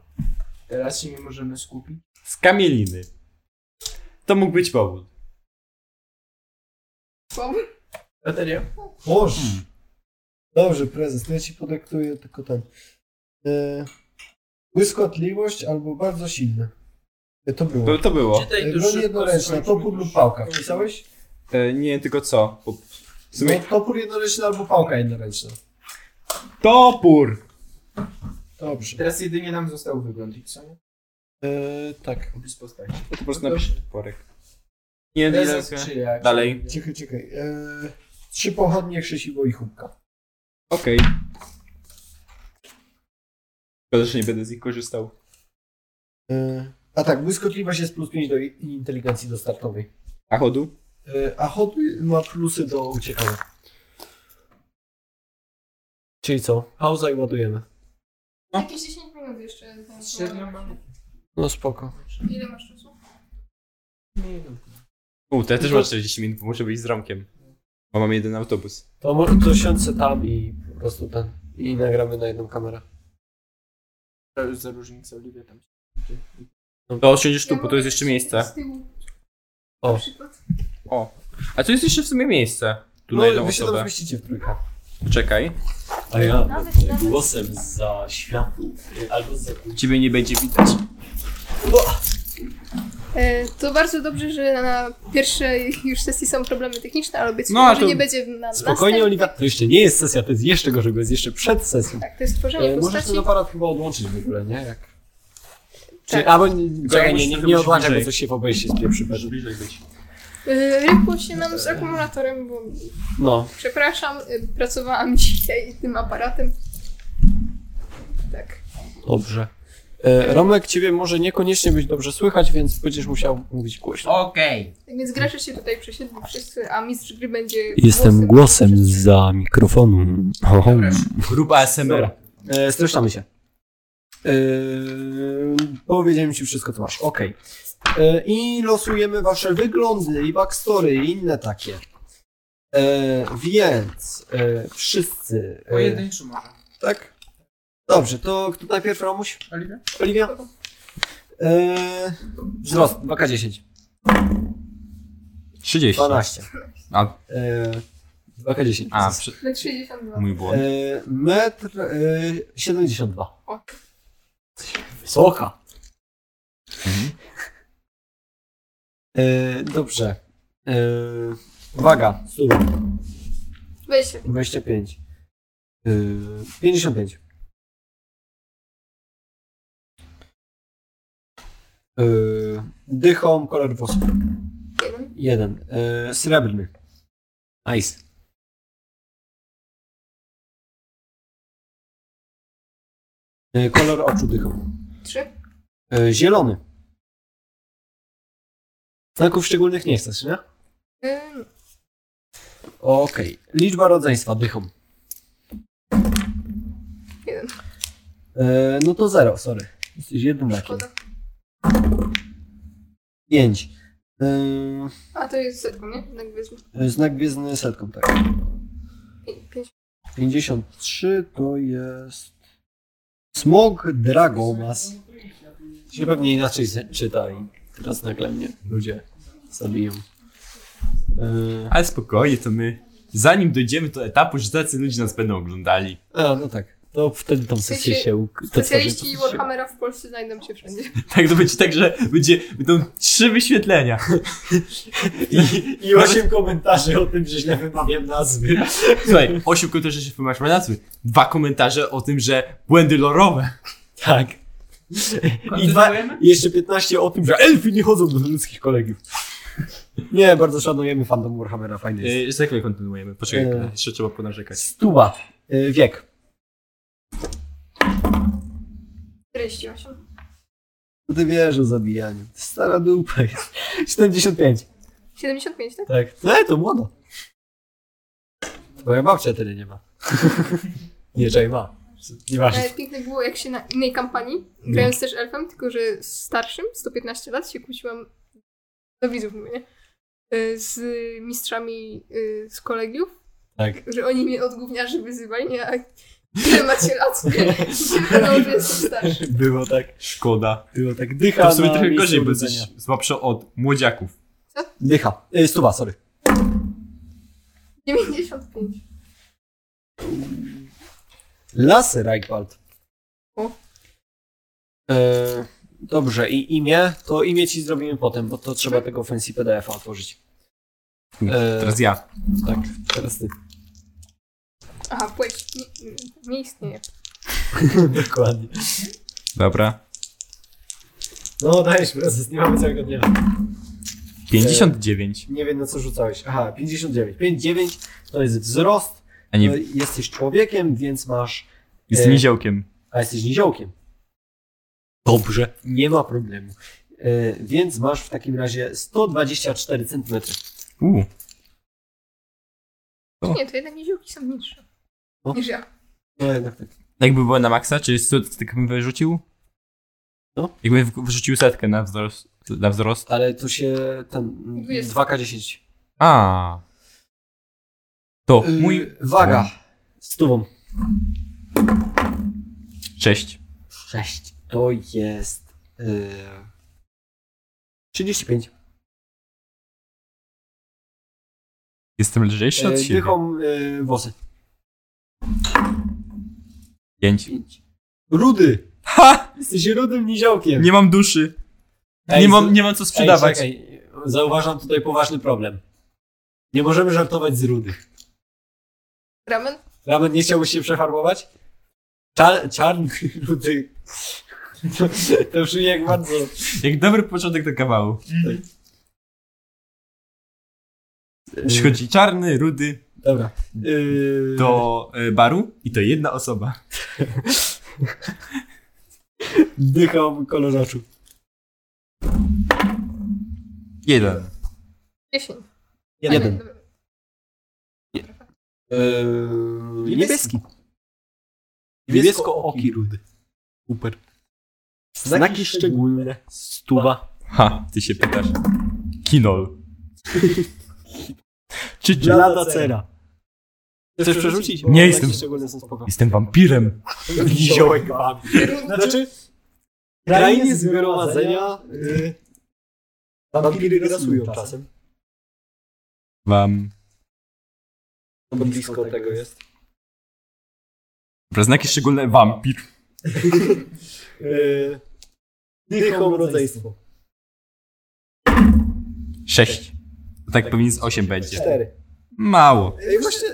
teraz się nie możemy skupić.
Z kamieliny. To mógł być powód.
Bateria?
Boż! Dobrze, prezes, to ja ci podyktuję tylko ten. E, błyskotliwość albo bardzo silny. E, To było.
To, to było.
Czytaj
Broń jednoręczna, topór lub pałka. Wpisałeś?
E, nie, tylko co? Bo w
No,
sumie...
topór jednoręczny albo pałka jednoręczna.
Topór!
Dobrze.
Teraz jedynie nam został wygląd i co nie?
E, tak.
Bez postaci.
To po prostu napisz toporek. Nie, nie,
Prezes
nie.
czy jak?
Dalej.
Czekaj, czekaj. E, trzy pochodnie, krzesiwo i hubka.
Okej. Szkoda, że nie będę z nich korzystał.
E, a tak, błyskotliwość jest plus 5 do i- inteligencji do startowej.
A chodu?
E, a hot ma plusy do uciekania. Czyli co? Pauza i ładujemy.
No. Jakieś 10 minut jeszcze.
Średnio mamy.
No spoko.
Ile masz czasu?
Nie, no.
U, to ja też mam 40 minut, bo muszę być z Romkiem. Bo mam jeden autobus.
To może to siądźcie tam i po prostu ten. I nagramy na jedną kamerę.
To już za różnicę Oliwia tam się.
To osiądziesz tu, bo tu jest jeszcze miejsce.
Z tyłu.
O.
Na przykład.
O. A tu jest jeszcze w sumie miejsce. Tu na
No,
jedną
wy się tam
osobę.
zmieścicie w trójkę.
Czekaj.
A ja
Nawet-
będę
nawet-
głosem za światów albo za
Ciebie nie będzie widać.
E, to bardzo dobrze, że na- na pierwszej już sesji są problemy techniczne, ale obiecuję,
No, a
że
to
nie będzie na
Spokojnie,
następnej.
Oliwia. To jeszcze nie jest sesja, to jest jeszcze gorzej, bo jest jeszcze przed sesją.
Tak, to jest tworzenie
E, możesz
postaci.
ten aparat chyba odłączyć w ogóle, nie? Jak... Czy,
Tak.
albo nie, czekaj, nie, nie,
trochę
nie
musi
odłączaj, bo
bliżej.
coś się w obejście spieprzy.
bliżej być.
E, Rypło się nam z akumulatorem, bo
No,
przepraszam, e, pracowałam [laughs] dzisiaj tym aparatem. Tak.
dobrze. E, Romek, ciebie może niekoniecznie być dobrze słychać, więc będziesz musiał mówić głośno.
Okej.
Tak Więc gracze się tutaj przesiedli wszyscy, a mistrz gry będzie.
Jestem głosem za mikrofonu.
Grupa SMR.
E, streszczamy się.
Yy, e, powiedziałem ci wszystko, co masz. Okej. E, I losujemy wasze wyglądy i backstory i inne takie. E, więc e, wszyscy. e,
Pojedynczy może.
tak? Dobrze, to kto najpierw Romuś?
Oliwia?
Oliwia? E, wzrost 2K10.
30.
12.
A,
E, 2K10.
a przy...
Na 62.
mój błąd.
E, metr e, 72.
O.
Wysoka. E, dobrze. E, waga. Stół.
Weź się.
25. E, 55. E, dychom, kolor włosów.
Jeden.
Jeden. E, srebrny. Nice. E, kolor oczu dychom.
Trzy.
E, zielony. Znaków szczególnych nie chcesz, nie?
Ym,
Okej. Liczba rodzeństwa dychom.
Jeden.
E, no to zero, sorry. Jesteś jednym lekiem.
Szkoda.
Pięć. E,
A to jest setką, nie? Jednak wezmę.
znak gwiezdny setką, tak.
Pię- Pięć.
53 to jest. Smog Dragomas.
Się pewnie inaczej se- czyta i teraz nagle mnie ludzie zabiją.
E,
Ale spokojnie, to my... Zanim dojdziemy do etapu, że tacy ludzie nas będą oglądali.
A, no tak. To wtedy tą sesję
sensie
się... uk- te tworzy-
Specjaliści Warhammera w Polsce znajdą się wszędzie.
Tak, to będzie tak, że będzie, będą trzy wyświetlenia.
I, I osiem komentarzy o tym, że źle wymawiam nazwy. [laughs]
Słuchaj, osiem komentarzy się wymasz ma nazwy. Dwa komentarze o tym, że błędy lorowe.
Tak. I dwa,
Kontynuujemy?
i jeszcze 15 o tym, że elfy nie chodzą do ludzkich kolegiów. [laughs]
nie, bardzo szanujemy fandom Warhammera, fajny jest.
Yy, za chwilę kontynuujemy. Poczekaj,
Eee.
jeszcze trzeba ponarzekać.
Stuba. E, wiek.
48.
[laughs]
Ty wiesz o zabijaniu. Stara dupa jest. 75.
75, tak?
Tak.
No to młodo.
Moja babcia tyle
[laughs]
nie ma. nie, że ma. Nieważne.
Ale E, piękne było, jak się na innej kampanii, grając też elfem, tylko że z starszym, 115 lat, się kłóciłam, do widzów mówię, nie? Y, Z mistrzami y, z kolegiów.
Tak.
Że oni mnie od gówniarzy wyzywali, nie? A ile macie lat? Nie, się
[laughs]
wydawało, że jestem starszy.
Było tak.
Szkoda.
Było tak. Dycha
To w sumie
na
trochę
miejscu
gorzej, bo
urodzenia.
jesteś słabszy od młodziaków.
Dycha. Y, stuwa, sorry.
95.
Lasy Reichwald.
E, dobrze, i imię? To imię ci zrobimy potem, bo to trzeba tego fancy PDF-a otworzyć. E,
Teraz ja.
tak, teraz ty.
Aha, płeć nie, nie istnieje.
[laughs] Dokładnie.
Dobra.
No dajesz prezes, nie mamy całego dnia.
59.
Nie wiem na co rzucałeś. Aha, 59. 59 to jest wzrost.
A
No,
nie,
Jesteś człowiekiem, więc masz.
jestem niziołkiem.
A jesteś niziołkiem.
Dobrze.
Nie ma problemu. E, więc masz w takim razie 124 cm.
Uuu.
Nie, to jednak niziołki są niższe.
O.
Niż ja.
No jednak tak.
Jakby było na maksa, czy stu- tak bym wyrzucił?
No.
Jakbym w- wyrzucił setkę na wzrost. Na wzrost.
Ale to się ten.
20.
2K10.
A. To
Y,
mój
Mój. E, Waga. Stówą.
6.
6. To jest. Yy, 35.
Jestem lżejszy od
Yy,
siebie.
dychą yy, włosy.
5.
Rudy!
Ha!
Jesteś rudym niziołkiem.
Nie mam duszy.
Ej,
nie,
z-
mam, nie mam co sprzedawać.
Ej, czekaj. Zauważam tutaj poważny problem. Nie możemy żartować z rudych.
Ramen?
Ramen nie chciałbyś się przefarbować? Czar, czarny, [laughs] rudy. To, to brzmi jak bardzo.
Jak dobry początek do kawału. Przychodzi czarny, rudy
Dobra. Yy,
do e, baru i to jedna osoba.
Dycham kolor oczu.
Jeden.
10.
Jeden.
Dobra.
Yy, niebieski.
Niebiesko-oki rudy. Super. Znaki szczególne. Stuwa.
Ha, ty się pytasz. Kinol. Czy czy-
Blada cera.
Chcesz przerzucić? No,
Nie jestem.
Szczególne są
[laughs]
spoko.
Jestem wampirem.
Niziołek babi. Znaczy, krainie zgromadzenia yy, wampiry grasują czasem.
Wam.
No bo blisko tego jest.
Dobra, Znaki szczególne wampir.
Yy, dychą rodzeństwo.
Sześć. To tak pewnie z osiem będzie.
Cztery.
Mało.
Ej, właśnie,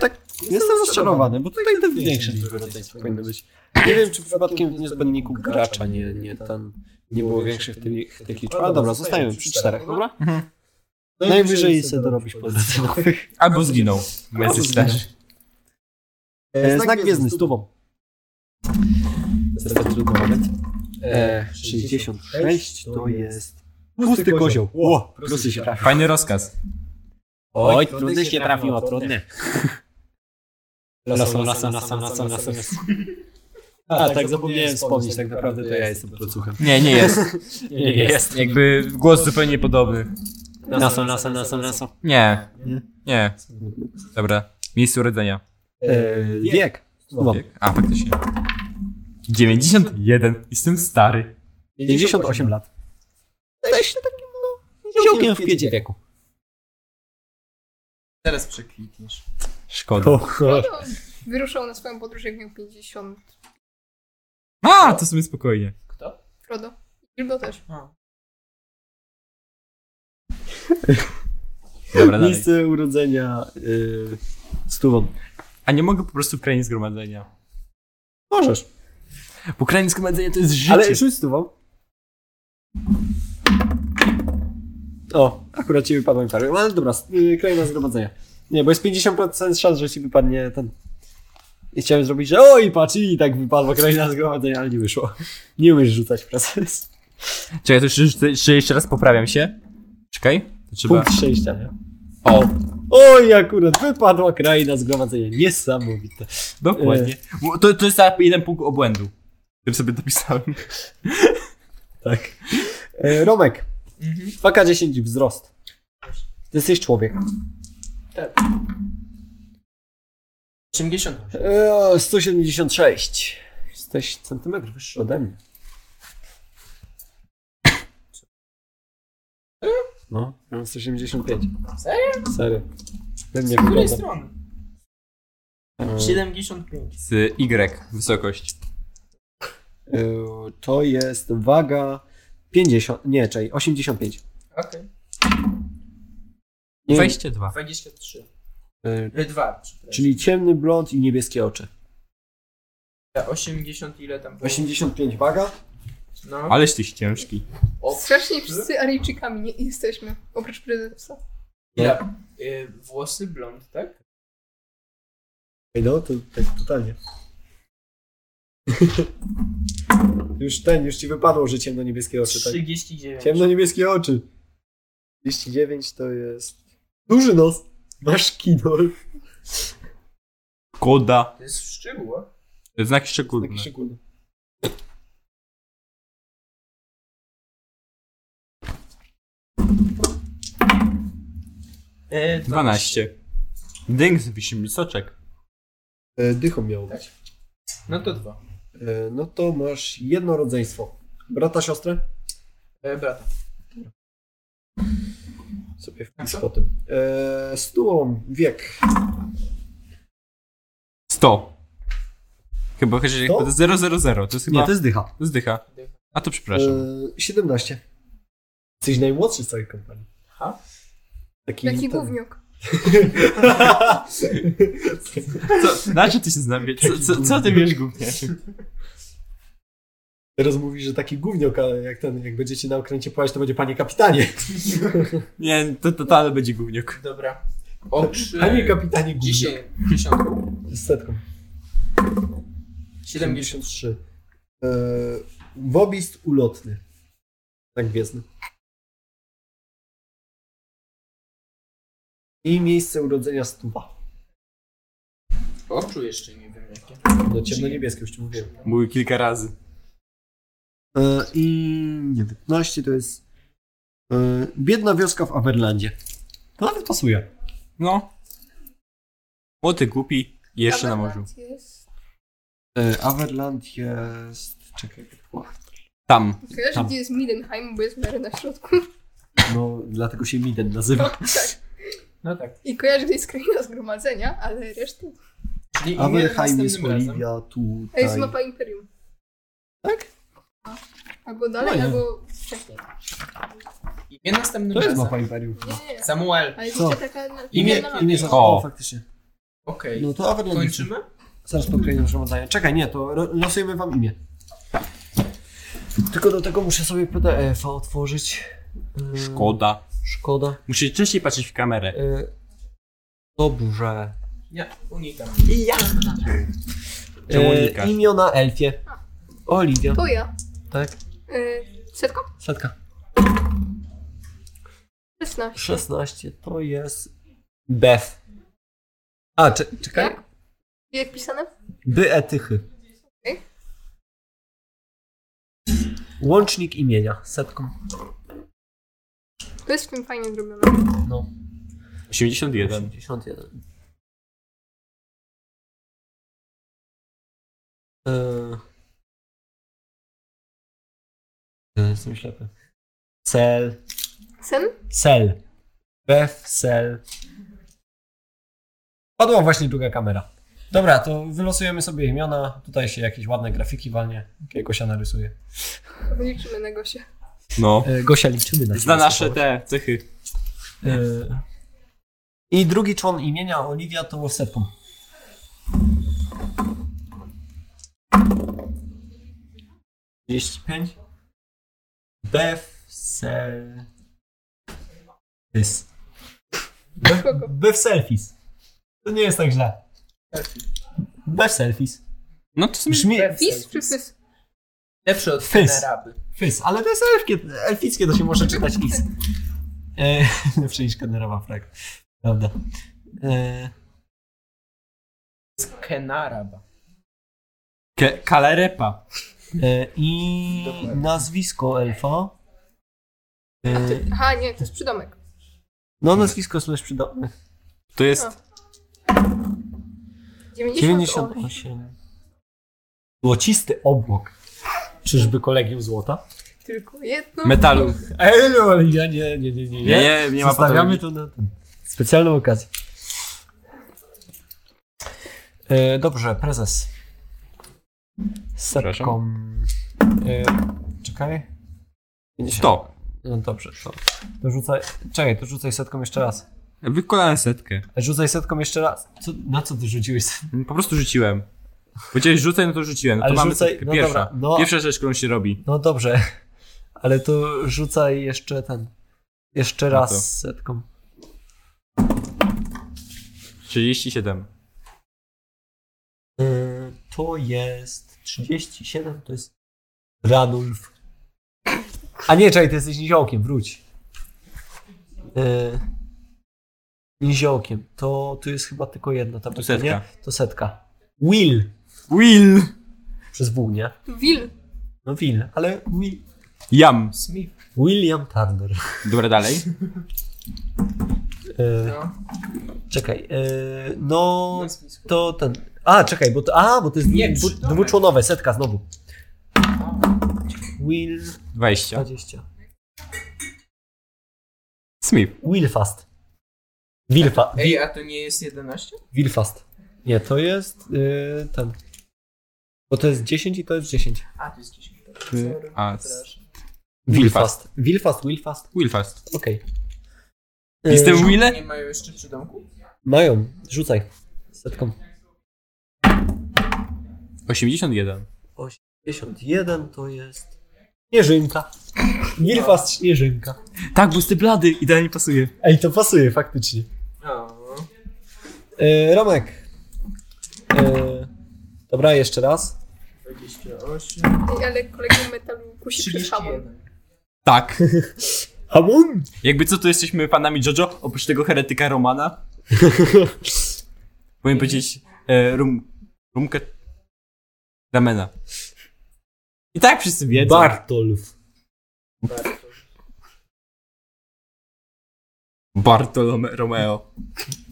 tak,
Jestem rozczarowany, bo tutaj te
większe
większe
niż
rodzeństwo powinno być. Nie wiem, czy przypadkiem w niezbędniku gracza nie, nie, ten, nie było większych tych, tych liczb. Ale dobra, zostajemy przy czterech, dobra? Najwyżej sobie dorobisz pozycji [laughs] nowych.
Albo zginął. Bo jesteś też.
E, Znak gwiezdny, z tubą. Teraz trudno moment. E, 66 to jest... Pusty kozioł. Ło, prosty się trafił.
Fajny rozkaz.
Oj, trudny się trafiło, [laughs] trudny. Lasem, lasem, lasem, lasem, lasem. [laughs] A, tak, zapomniałem wspomnieć, tak naprawdę to ja jestem procuchem.
Nie, nie jest.
Nie, nie jest.
Jakby głos zupełnie podobny.
Lasem, lasem, lasem, lasem.
Nie. Nie. Dobra. Miejsce urodzenia.
E, wiek. Stuwa.
Wiek? A, faktycznie. 91. Jestem stary.
58 lat.
Jesteś takim, no, ziołkiem w kwiecie wieku.
Teraz przeklikniesz.
Szkoda.
No to wyruszał na swoją podróż, jak miał 50.
A, to sobie spokojnie.
Frodo. Bilbo też.
Dobra, dalej.
Miejsce urodzenia y, stówą.
A nie mogę po prostu w krainie zgromadzenia.
Możesz.
Bo krainie zgromadzenia to jest życie.
Ale rzuć stówą. O, akurat ci wypadła mi parę. No ale dobra, y, kraina zgromadzenia. Nie, bo jest 50% szans, że ci wypadnie ten... I chciałem zrobić, że oj, patrz, i tak wypadła kraina zgromadzenia, ale nie wyszło. Nie umiesz rzucać, prezes.
Czekaj, to jeszcze, jeszcze, jeszcze raz poprawiam się. Czekaj. Trzeba...
Punkt szczęścia, nie?
O,
Oj, akurat wypadła kraina zgromadzenia. Niesamowite.
[laughs] dokładnie.
e.
Bo To, to jest za jeden punkt obłędu, który sobie dopisałem.
Tak. E, Romek.
Mhm.
2K10 wzrost. Ty jesteś człowiek.
Tak. 80.
E, 176. Jesteś centymetr wyższy ode mnie. No, mam 175. Serio? Serio. Ode mnie
Z której
wygląda.
strony?
E,
75.
Z Y wysokość.
e, To jest waga 50, nie, czekaj, 85.
Okej.
Nie,
22.
23.
e,
2, przepraszam.
Czyli ciemny blond i niebieskie oczy.
80 ile tam było?
85 waga.
No.
Aleś tyś ciężki.
Strasznie wszyscy Aryjczykami nie jesteśmy, oprócz prezesa.
Ja, y, włosy blond, tak?
Ej, No, to tak totalnie. [laughs] już ten, już ci wypadło, że ciemno-niebieskie oczy, tak?
39.
Ciemno-niebieskie oczy. 39 to jest... Duży nos! Masz kidol.
Koda.
To jest w szczegółach.
Znaki szczególne.
Taki szczególny.
Y,
12. Dynk z wisim soczek.
E, Dychą miało być.
No to dwa.
E, No to masz jedno rodzeństwo. Brata, siostrę?
E, brata.
Sobie wpis potem. E, Stułom, wiek.
100. Chyba chociaż jak
Sto?
to jest 000. To jest chyba.
Nie, to jest dycha.
Zdycha. A to przepraszam.
E, 17. Jesteś najmłodszy z całej kompanii.
Aha.
Taki,
Jaki
ten-
gówniok.
Co, na czym ty się znam? Co, co, co ty wiesz głównie?
[laughs]
Teraz mówi, że taki gówniok, ale jak ten, jak będziecie na okręcie płać, to będzie panie kapitanie.
Nie, to totalnie będzie gówniok.
Dobra.
Tak.
Oczy.
Panie kapitanie gówniok.
Dzisiaj. Dziesiątką.
Z setką.
70.
73. E, wobist ulotny. Tak gwiezdny. I miejsce urodzenia stuwa.
Oczu jeszcze nie wiem jakie.
No ciemno-niebieskie, już ci mówiłem.
Mówił kilka razy.
E, I 19 to jest e, biedna wioska w Averlandzie. To nawet pasuje.
No. Młody, głupi i jeszcze na morzu.
Aberrant jest.
E, Averland jest. Czekaj, jak to było?
Tam.
Wiesz,
Tam.
gdzie jest Midenheim, bo jest Mary na środku.
no dlatego się Miden nazywa.
No tak.
I kojarzy gdzieś kraina zgromadzenia, ale resztę.
Czyli imię
Averheim
następnym
jest
razem.
Olivia,
To jest
No
tutaj.
mapa Imperium.
Tak?
No. Albo dalej,
Fajnie.
albo wcześniej.
Imię następnym
To jest
razem.
mapa Imperium.
Nie, nie.
Samuel.
Ale
Co?
wiecie, taka na-
Imię-
na
Imię
mapie.
za...
O.
O, faktycznie.
Okej.
No to Averland. jest-
Kończymy?
Zaraz podkreślam przewodanie. Czekaj, nie, to ro- losujemy wam imię. Tylko do tego muszę sobie e, PDF-a otworzyć. E,
Szkoda.
Szkoda.
Musisz częściej patrzeć w kamerę.
E, Dobrze.
Ja unikam.
Czemu
Yy,
unikasz?
imię na elfie. Oliwia.
To ja.
Tak.
Y, setką?
Setka.
16.
16 to jest. Bef. A, cze- czekaj.
Jak? Jak pisane?
Byetychy.
Okej.
Łącznik imienia. Setką.
To jest w tym fajnie zrobione.
81.
81. Eee. Ja Jestem ślepy. Cel.
Sen?
Cel. Bef, cel. Padła właśnie druga kamera. Dobra, to wylosujemy sobie imiona. Tutaj się jakieś ładne grafiki walnie. Jakiegoś narysuje.
Liczymy na Gosie.
No.
E, Gosia, liczymy na ciebie.
Zna nasze te cechy.
E, I drugi człon imienia Oliwia to setką. Trzydzieści pięć. Bef, sel... Fis. Bef,
Spoko.
bef selfies. To nie jest tak źle. Bef selfies. [laughs]
No to są
Brzmi
Fis czy fys?
Lepszy od
Fys.
Fys. Araby.
fis, ale to jest elfkie, elfickie, to się może czytać is. E, lepsze niż Kennerowa frag. Prawda. E,
Skenaraba.
Ke- Kalerepa. E, I nazwisko elfa. E,
Aha, nie, to jest przydomek.
no, nazwisko slash przydatne.
To jest.
98.
98. Złocisty obłok. Czyżby kolegium złota?
Tylko jedno.
Metalu.
Ej, no, ale ja nie, nie, nie, nie.
Nie, nie, nie ma
Zostawiamy
patologii.
to na ten. specjalną okazję. E, dobrze, prezes. Z Setką. E, czekaj.
100.
No dobrze, to, to rzucaj. Czekaj, to rzucaj setką jeszcze raz.
Wykonałem setkę.
Rzucaj setką jeszcze raz. Co, na co ty rzuciłeś?
Po prostu rzuciłem. Powiedziałeś rzucaj, no to rzuciłem.
Ale
to mamy
rzucaj-
setkę.
no
Pierwsza.
dobra, no.
Pierwsza rzecz, którą się robi.
No dobrze, [laughs] ale to rzucaj jeszcze ten. Jeszcze
No
raz
to.
setką.
37.
E, to jest 37, to jest Ranulf. A nie, czekaj, ty jesteś niziołkiem, wróć. E, niziołkiem, to tu jest chyba tylko jedna ta
Tu setka.
To setka. Will.
Will.
Przez W, nie?
Wil.
No Will, ale Will.
Jam.
William Turner.
Dobra, dalej.
E,
No.
Czekaj, e, no
Nazwisko.
to ten. A, czekaj, bo to. A, bo to jest
Nie,
dwu,
przydomek.
dwuczłonowe, setka znowu. Will
20.
20.
Smith.
Willfast. Wilfa,
Ej, a to nie jest 11?
Wilfast. Nie, to jest y, ten. Bo to jest 10 i to jest 10.
A, to jest 10.
Ty, a, s-
Wilfast. Wilfast, Wilfast.
Wilfast.
Okej. E,
Jestem Willem?
Nie mają jeszcze przydomku?
Mają, rzucaj. Setką.
81.
51 to jest. Śnieżynka. Wilfast, śnieżynka.
Tak, busty blady. Idealnie pasuje.
Ej, to pasuje faktycznie.
O.
E, Romek. E, dobra, jeszcze raz.
28.
Ej, Ale kolegium metalu kusi przez hamon.
[laughs]
Tak.
Hamon!
Jakby co, to jesteśmy fanami JoJo, oprócz tego
[laughs]
heretyka Romana. Powinien powiedzieć e, rum, rumkę ramena. I tak wszyscy wiedzą.
Bartolf.
Bartolome Romeo.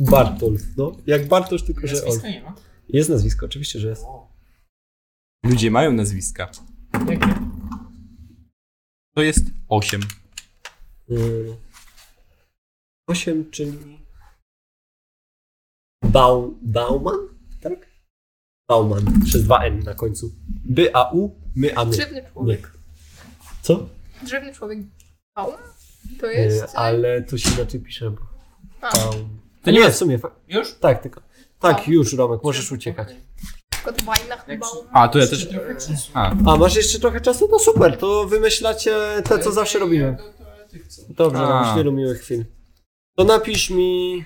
Bartolf, no. Jak Bartosz, tylko że Olf.
Nazwiska nie ma.
Jest nazwisko, oczywiście, że jest.
Ludzie mają nazwiska.
Jakie?
To jest 8.
8, Y, czyli... Bau, Bauman? Tak? Bauman, przez 2N na końcu. By, a U, my, a my.
Drzewny człowiek.
Nie. Co?
Drzewny człowiek. Baum? To
E,
jest... e,
Ale to się inaczej pisze. bo-
A.
Baum. To nie jest w sumie. fa-
Już?
Tak, tylko. Tak,
A.
już, Romek, możesz uciekać.
Kot Wajna Baum.
A, to ja też... A,
A masz jeszcze trochę czasu? To super, to wymyślacie te, co zawsze robimy. Dobrze,
A.
mam wielu miłych chwil. To napisz mi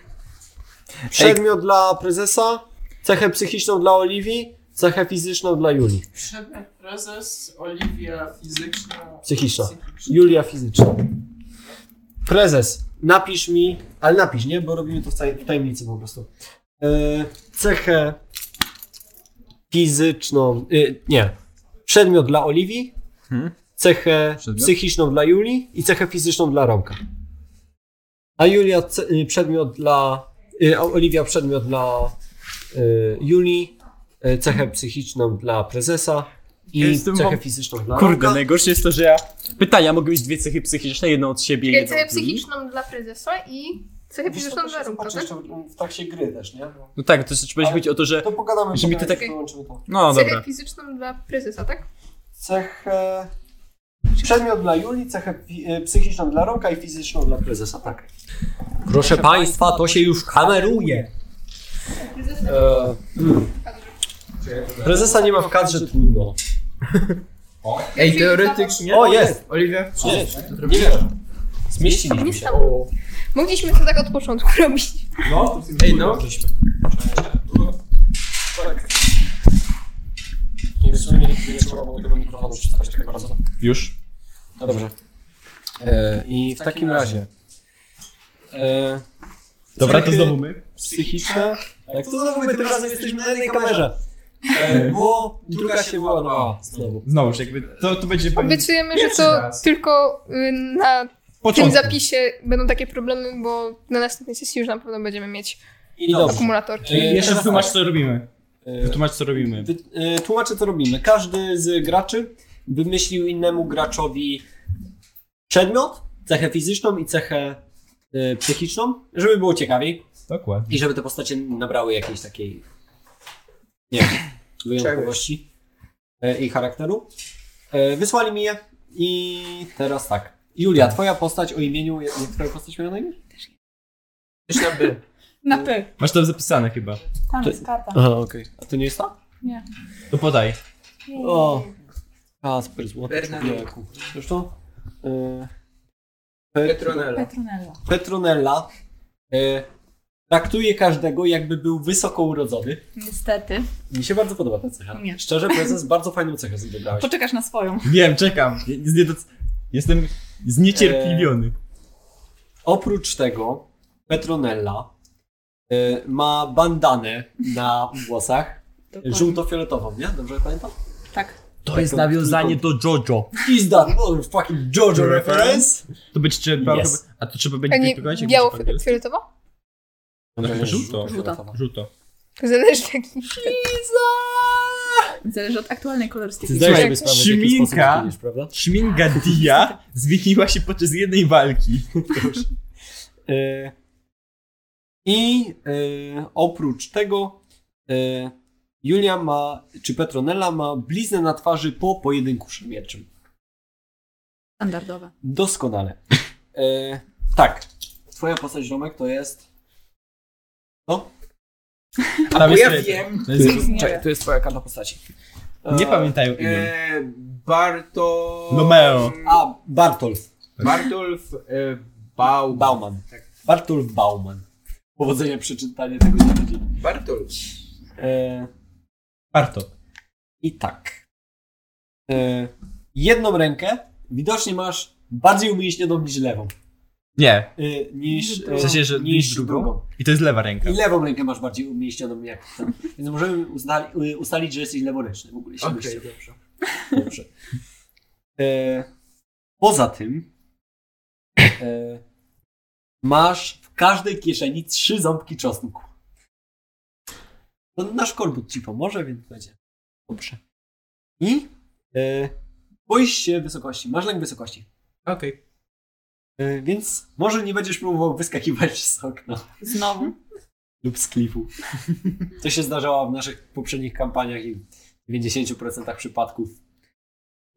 przedmiot dla prezesa, cechę psychiczną dla Oliwii, cechę fizyczną dla Julii.
Przedmiot prezes, Oliwia fizyczna.
Psychiczna. Julia fizyczna. Prezes, napisz mi, ale napisz, nie? Bo robimy to w, taj- w tajemnicy po prostu. E, cechę fizyczną, e, nie, przedmiot dla Oliwii,
Hmm.
cechę
Przedmiot?
No. psychiczną dla Julii i cechę fizyczną dla Romka. A Julia ce- y, przedmiot dla, y, a Oliwia przedmiot dla y, Julii, y, cechę psychiczną dla prezesa i
Jestem
cechę
wam-
fizyczną dla
kurde,
Romka.
najgorsze jest to, że ja... Pytania mogą mieć dwie cechy psychiczne, jedną od siebie i
Czekaj,
jedną
Cechę
od Julii.
psychiczną dla prezesa i cechę
Wiesz, to
fizyczną
też
dla
się
Rumka,
zobaczy
tak?
jeszcze w- w trakcie gry też, nie? No.
No tak, to znaczy będzie
Ale-
chodzi o to, że...
To pogadamy,
Żeby to
potem,
tak-
jak wyłączymy to.
No,
Cechę
dobra.
fizyczną dla prezesa, tak?
Cechę... Przedmiot dla Julii, cechę fi- y, psychiczną dla Roka i fizyczną dla prezesa, tak.
Proszę Państwa, to się już kameruje. E, mm. Prezesa nie ma w kadrze, trudno.
Ej, teoretycznie.
O, no jest!
Oliwia,
Jest!
to zrobiłeś?
Zmieściliśmy
Nie
się.
stało. Mogliśmy to tak od początku [laughs] robić.
Ej, no.
Nie w sumie nie, nie trzeba było tego mikrofonu przystawić tak bardzo.
Już.
No dobrze.
I w takim razie
E,
Dobra, to
cechy
znowu my.
Psychiczne. Tak, to znowu my tym razem jesteśmy na jednej kamerze. Tak. E, bo druga się wyłamała znowu.
Znowuż, jakby to, to będzie pewnie
Obiecujemy, że
Pierwszy
to
raz.
tylko y, na tym
początek.
zapisie będą takie problemy, bo na następnej sesji już na pewno będziemy mieć
I dobrze.
akumulator.
E,
Jeszcze
teraz
wytłumacz,
tak.
co robimy.
E,
Wytłumacz, co robimy.
Wy, e, tłumaczę, co robimy. Każdy z graczy wymyślił innemu graczowi przedmiot, cechę fizyczną i cechę e, psychiczną, żeby było ciekawiej
Dokładnie.
i żeby te postacie nabrały jakiejś takiej nie wiem, wyjątkowości e, i charakteru. E, wysłali mi je i teraz tak. Julia, twoja postać o imieniu, jak jak twoja postać miała na imię?
Coś na by.
Na P.
Masz to zapisane chyba.
Tam jest karta.
Aha, okej. A to nie jest ta?
Nie.
To podaj.
O! Kasper, złoty
Bernadette.
człowieku. Zresztą? E,
Petronella.
Petronella.
Petronella e, traktuje każdego jakby był wysoko urodzony.
Niestety.
Mi się bardzo podoba ta cecha.
Nie.
Szczerze, prezes, bardzo fajną cechę sobie wybrałeś.
Poczekasz na swoją.
Wiem, czekam. Jest niedoc- Jestem zniecierpliwiony.
Oprócz tego Petronella e, ma bandanę na włosach.
Dokładnie.
Żółto-fioletową, nie? Dobrze pamiętam?
Tak.
To jest nawiązanie do JoJo.
Is that motherfucking Jojo reference?
To być trzeba.
Yes.
A to trzeba
A
będzie
nie
wytłumaczyć, jak będzie po angielsku?
biało-fioletowo?
No chyba żółto.
Żółto.
Żółto.
Zależy jaki.
Zależy od aktualnej kolorystyki.
Ty zdajesz
Słuchaj,
sobie sprawę, w jaki sposób
Szminka.
wyglądasz, prawda?
Szminka Dia zmieniła się podczas jednej walki.
E, I e, oprócz tego e, Julia ma, czy Petronella ma bliznę na twarzy po pojedynku szermierczym.
Standardowe.
Doskonale. E, tak. Twoja postać ziomek to jest...
A
Bo ja wiem.
To jest...
Nie.
Czekaj, to jest twoja karta postaci. E,
Nie pamiętają imion.
E, Barto...
Romeo.
A, Bartolf.
Bartolf e, Bał.
Bauman.
Tak.
Bartolf Bauman. Powodzenia przeczytanie tego znaczy.
Bartolf.
E,
Warto.
I tak. E, jedną rękę widocznie masz bardziej umięśnioną niż lewą.
Nie.
E, niż, e,
W sensie, że
niż
No drugą? I to jest lewa ręka.
I lewą rękę masz bardziej umięśnioną jak ten. Więc możemy ustali, ustalić, że jesteś leworęczny. W ogóle się
Okej,
mieści.
dobrze.
Dobrze. E, poza tym e, masz w każdej kieszeni trzy ząbki czosnku. To nasz korbut ci pomoże, więc będzie dobrze. I e, boisz się wysokości. Masz lęk wysokości.
Okej.
E, więc może nie będziesz próbował wyskakiwać z okna
Znowu.
lub z klifu. To się zdarzało w naszych poprzednich kampaniach i w 90% przypadków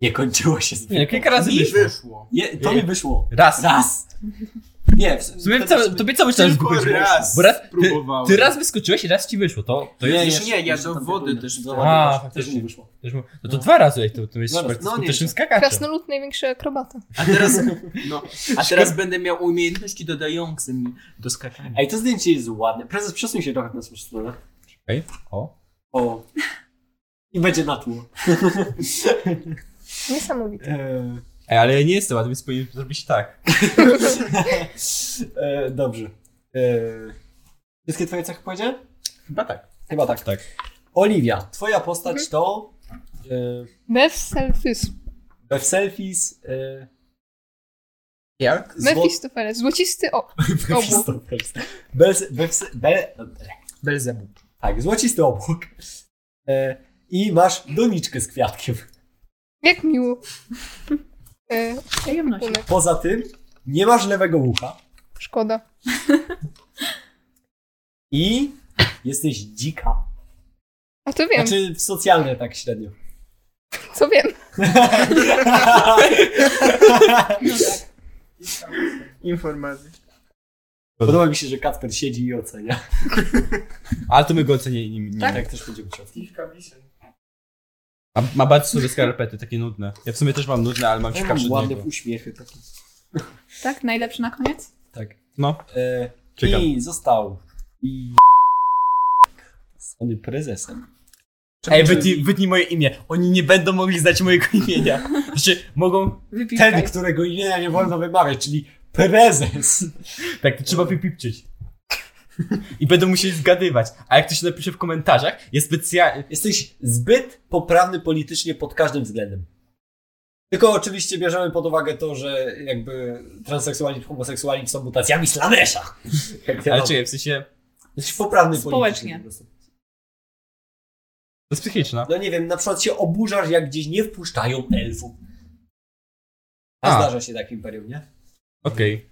nie kończyło się z
Nie, kilka razy
Mi
wyszło.
wyszło.
Nie, to mi wyszło.
Raz.
Raz. Nie, w
Tobie cały, tobie cały czas
Tylko
wychodziło.
raz
Bo raz ty,
próbowałem.
ty raz wyskoczyłeś i raz ci wyszło. To, to jest...
jeszcze- nie, ja do wody też
Do
wpadłem.
wody
A,
też- też
faktycznie.
mi wyszło.
też mu- No to dwa razy, ej, to, to jest
Dwa razy.
bardzo
No, nie,
skutecznym
nie.
Tak.
skakaczem.
Krasnolud największy akrobata.
A teraz, no, a teraz będę miał umiejętności dodające mi do skakania.
Ej, to zdjęcie jest ładne. Prezes, przesuń się trochę na swoją stronę.
Okej, o.
O. I będzie na tło.
Niesamowite.
E,
Ej, ale ja nie jestem, a ty więc powinien zrobić tak.
e, dobrze. E, wszystkie twoje cechy powiedziałem?
Chyba tak.
Chyba tak.
Tak.
Oliwia, twoja postać to... E,
Mef Selfis.
we selfies... E,
Jak?
zło-
Mefistofeles. Złocisty o.
[laughs]
obłok.
Bez, bez, be,
Belzebub.
tak, złocisty obłok. E, I masz doniczkę z kwiatkiem.
Jak miło. E,
Przyjemności.
unek.
Poza tym nie masz lewego ucha
Szkoda.
i jesteś dzika.
A to wiem,
Znaczy w socjalne tak średnio.
co wiem.
No tak.
Informacje.
Podoba mi się, że Kacper siedzi i ocenia.
Ale to my go ocenimy. Nie,
Tak, tak też będziemy chcieli.
Kilka wisień.
A ma bardzo sobie skarpety, takie nudne. Ja w sumie też mam nudne, ale mam
Ja
ciekawsze
mam
od
ładne
niego.
uśmiechy takie.
Tak, najlepszy na koniec?
Tak.
No,
E,
czekam.
I został. I... Stany prezesem.
Ej, wytnij, wytnij moje imię. Oni nie będą [laughs] mogli znać mojego imienia. Znaczy, mogą...
Wypisz.
Ten, którego imienia nie wolno wymawiać, czyli
Prezes!
Tak, to trzeba wypipczyć. I będą musieli zgadywać. A jak ktoś napisze w komentarzach, jest specjalnie.
Jesteś zbyt poprawny politycznie pod każdym względem. Tylko oczywiście bierzemy pod uwagę to, że jakby transseksualizm, homoseksualizm są mutacjami Slanesha.
[laughs]
Jak ja
Ale
mam-
czy w sensie.
Jesteś poprawny
Społecznie.
politycznie. po prostu.
To jest psychiczna.
No nie wiem, na przykład się oburzasz, jak gdzieś nie wpuszczają elfów. A,
A.
zdarza się tak imperium, nie?
Okej.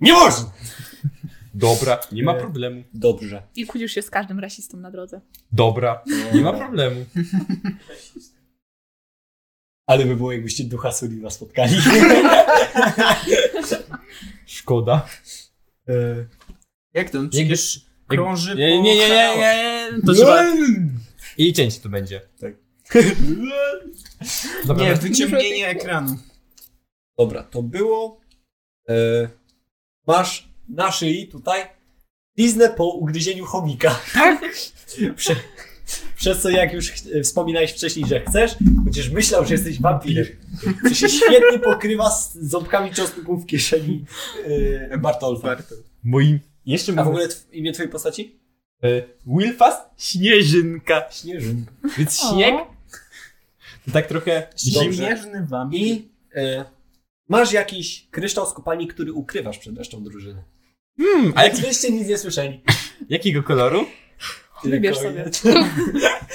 Nie można!
Dobra, nie ma
Nie.
problemu.
Dobrze.
I kłócisz się z każdym rasistą na drodze.
Dobra, nie ma problemu.
Ale by było, jakbyście ducha Suliwa spotkali.
[laughs] Szkoda.
E,
Jak tam?
Jakby-
Przecież krąży
Nie, nie, nie, nie, nie, nie. To
No.
trzeba. I cięcie tu będzie.
Tak.
Dobra,
Nie,
nie.
wyciemnienie ekranu.
Dobra, to było. E, masz na szyi tutaj liznę po ugryzieniu chomika. Tak? [laughs] Prze, przez co, jak już ch- wspominałeś wcześniej, że chcesz, będziesz myślał, że jesteś wampirem. Co się świetnie pokrywa z ząbkami czosnków w kieszeni e, Bartolfa.
Moim.
A
Jeszcze
w
mam.
ogóle tw- imię twojej postaci?
E, Wilfast? Śnieżynka.
Śnieżyn.
Więc śnieg? To tak trochę zimnie.
Śnieżny wam.
I e, masz jakiś kryształ z kopalni, który ukrywasz przed resztą drużyny.
Hmm, a
Ale
jaki,
gdybyście nic nie słyszeli.
jakiego koloru?
Wybierz
Tylko-
sobie.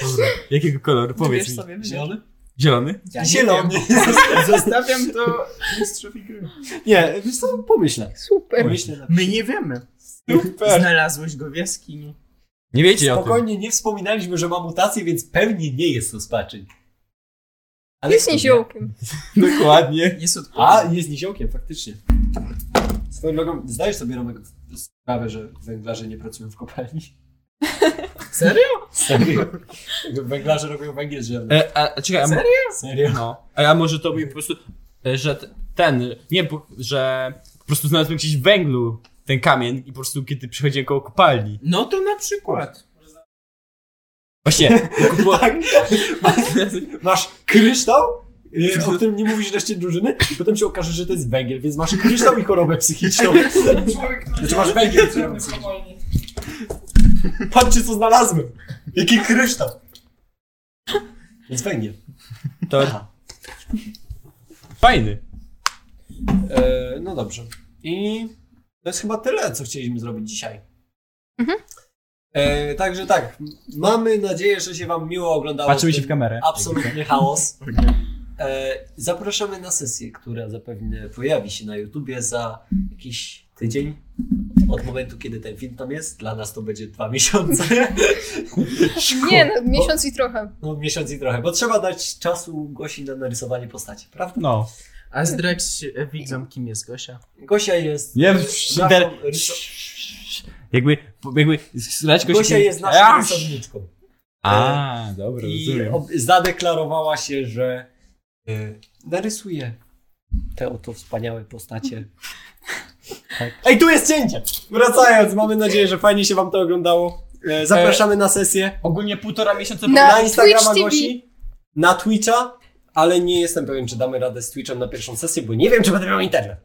Dobra. Jakiego koloru? Powiedz
Wybierz
mi.
sobie. wybierz.
Zielony?
Zielony?
Ja nie
Zielony.
[laughs] Zostawiam to mistrzowi gry.
Nie, wiesz co, pomyślę.
Super.
Pomyślę na
My nie wiemy. Znalazłeś go w jaskini.
Nie wiecie o tym.
Spokojnie, nie wspominaliśmy, że ma mutację, więc pewnie nie jest to spaczyń. Ale
Jest niziołkiem.
Dokładnie.
Jest odpowiedź.
A, jest niziołkiem, faktycznie. Swoją drogą, zdajesz sobie, Romek, sprawę, że węglarze nie pracują w kopalni?
Serio?
Serio. Węglarze robią węgiel z ziarna.
E, a, a czekaj, a, mo-
Serio.
no. a ja może to mi po prostu, e, że t- ten, nie, bo- że po prostu znalazłem gdzieś w węglu ten kamień i po prostu kiedy przychodziłem koło kopalni.
No to na przykład.
Właśnie,
[laughs]
kupo,
Tak. [laughs] Masz kryształ, y, o którym nie mówisz reszcie drużyny, i potem się okaże, że to jest węgiel, więc masz kryształ i chorobę psychiczną. Znaczy masz węgiel. Patrzcie, co znalazłem. Jaki kryształ. Więc węgiel.
to
Aha.
[laughs] fajny.
E, no dobrze. I to jest chyba tyle, co chcieliśmy zrobić dzisiaj.
Mhm.
E, także tak, m- mamy nadzieję, że się Wam miło oglądało.
Patrzymy się
ten
w kamerę.
Absolutny chaos. E, zapraszamy na sesję, która zapewne pojawi się na YouTubie za jakiś tydzień. Od momentu, kiedy ten film tam jest. Dla nas to będzie dwa miesiące.
Nie, no, miesiąc i trochę.
No miesiąc i trochę, bo trzeba dać czasu Gosi na narysowanie postaci, prawda?
No.
A zdradź e, widzom, kim jest Gosia.
Gosia jest...
Nie,
naszą
der-
ryso-
jakby, jakby, zlać go
Gosia jest naszą rysowniczką. E,
A, dobra,
I
rozumiem.
ob- zadeklarowała się, że y, narysuje te oto wspaniałe postacie. Tak. Ej, tu jest cięcie! Wracając, mamy nadzieję, że fajnie się wam to oglądało. E, Zapraszamy na sesję
Ogólnie półtora miesiąca
Na-
na Instagrama
Twitch TV.
Gosi, na Twitcha, ale nie jestem pewien, czy damy radę z Twitchem na pierwszą sesję, bo nie wiem, czy będę miał internet.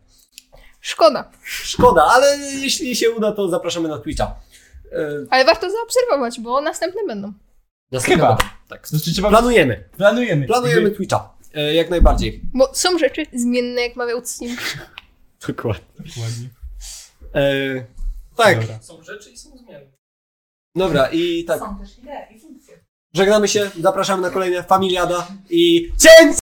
Szkoda.
Szkoda, ale jeśli się uda, to zapraszamy na Twitcha. E,
Ale warto zaobserwować, bo następne będą.
następna-
Chyba.
Tak.
Znaczy, trzeba,
Planujemy.
planujemy.
Planujemy Twitcha. E, jak najbardziej.
Bo są rzeczy zmienne, jak mawiał Cim.
Dokładnie.
Dokładnie.
E, tak, dobra.
Dobra.
Są rzeczy i są zmiany.
i tak.
Są też idee i funkcje.
Żegnamy się, zapraszamy na kolejne Familiada i cięć!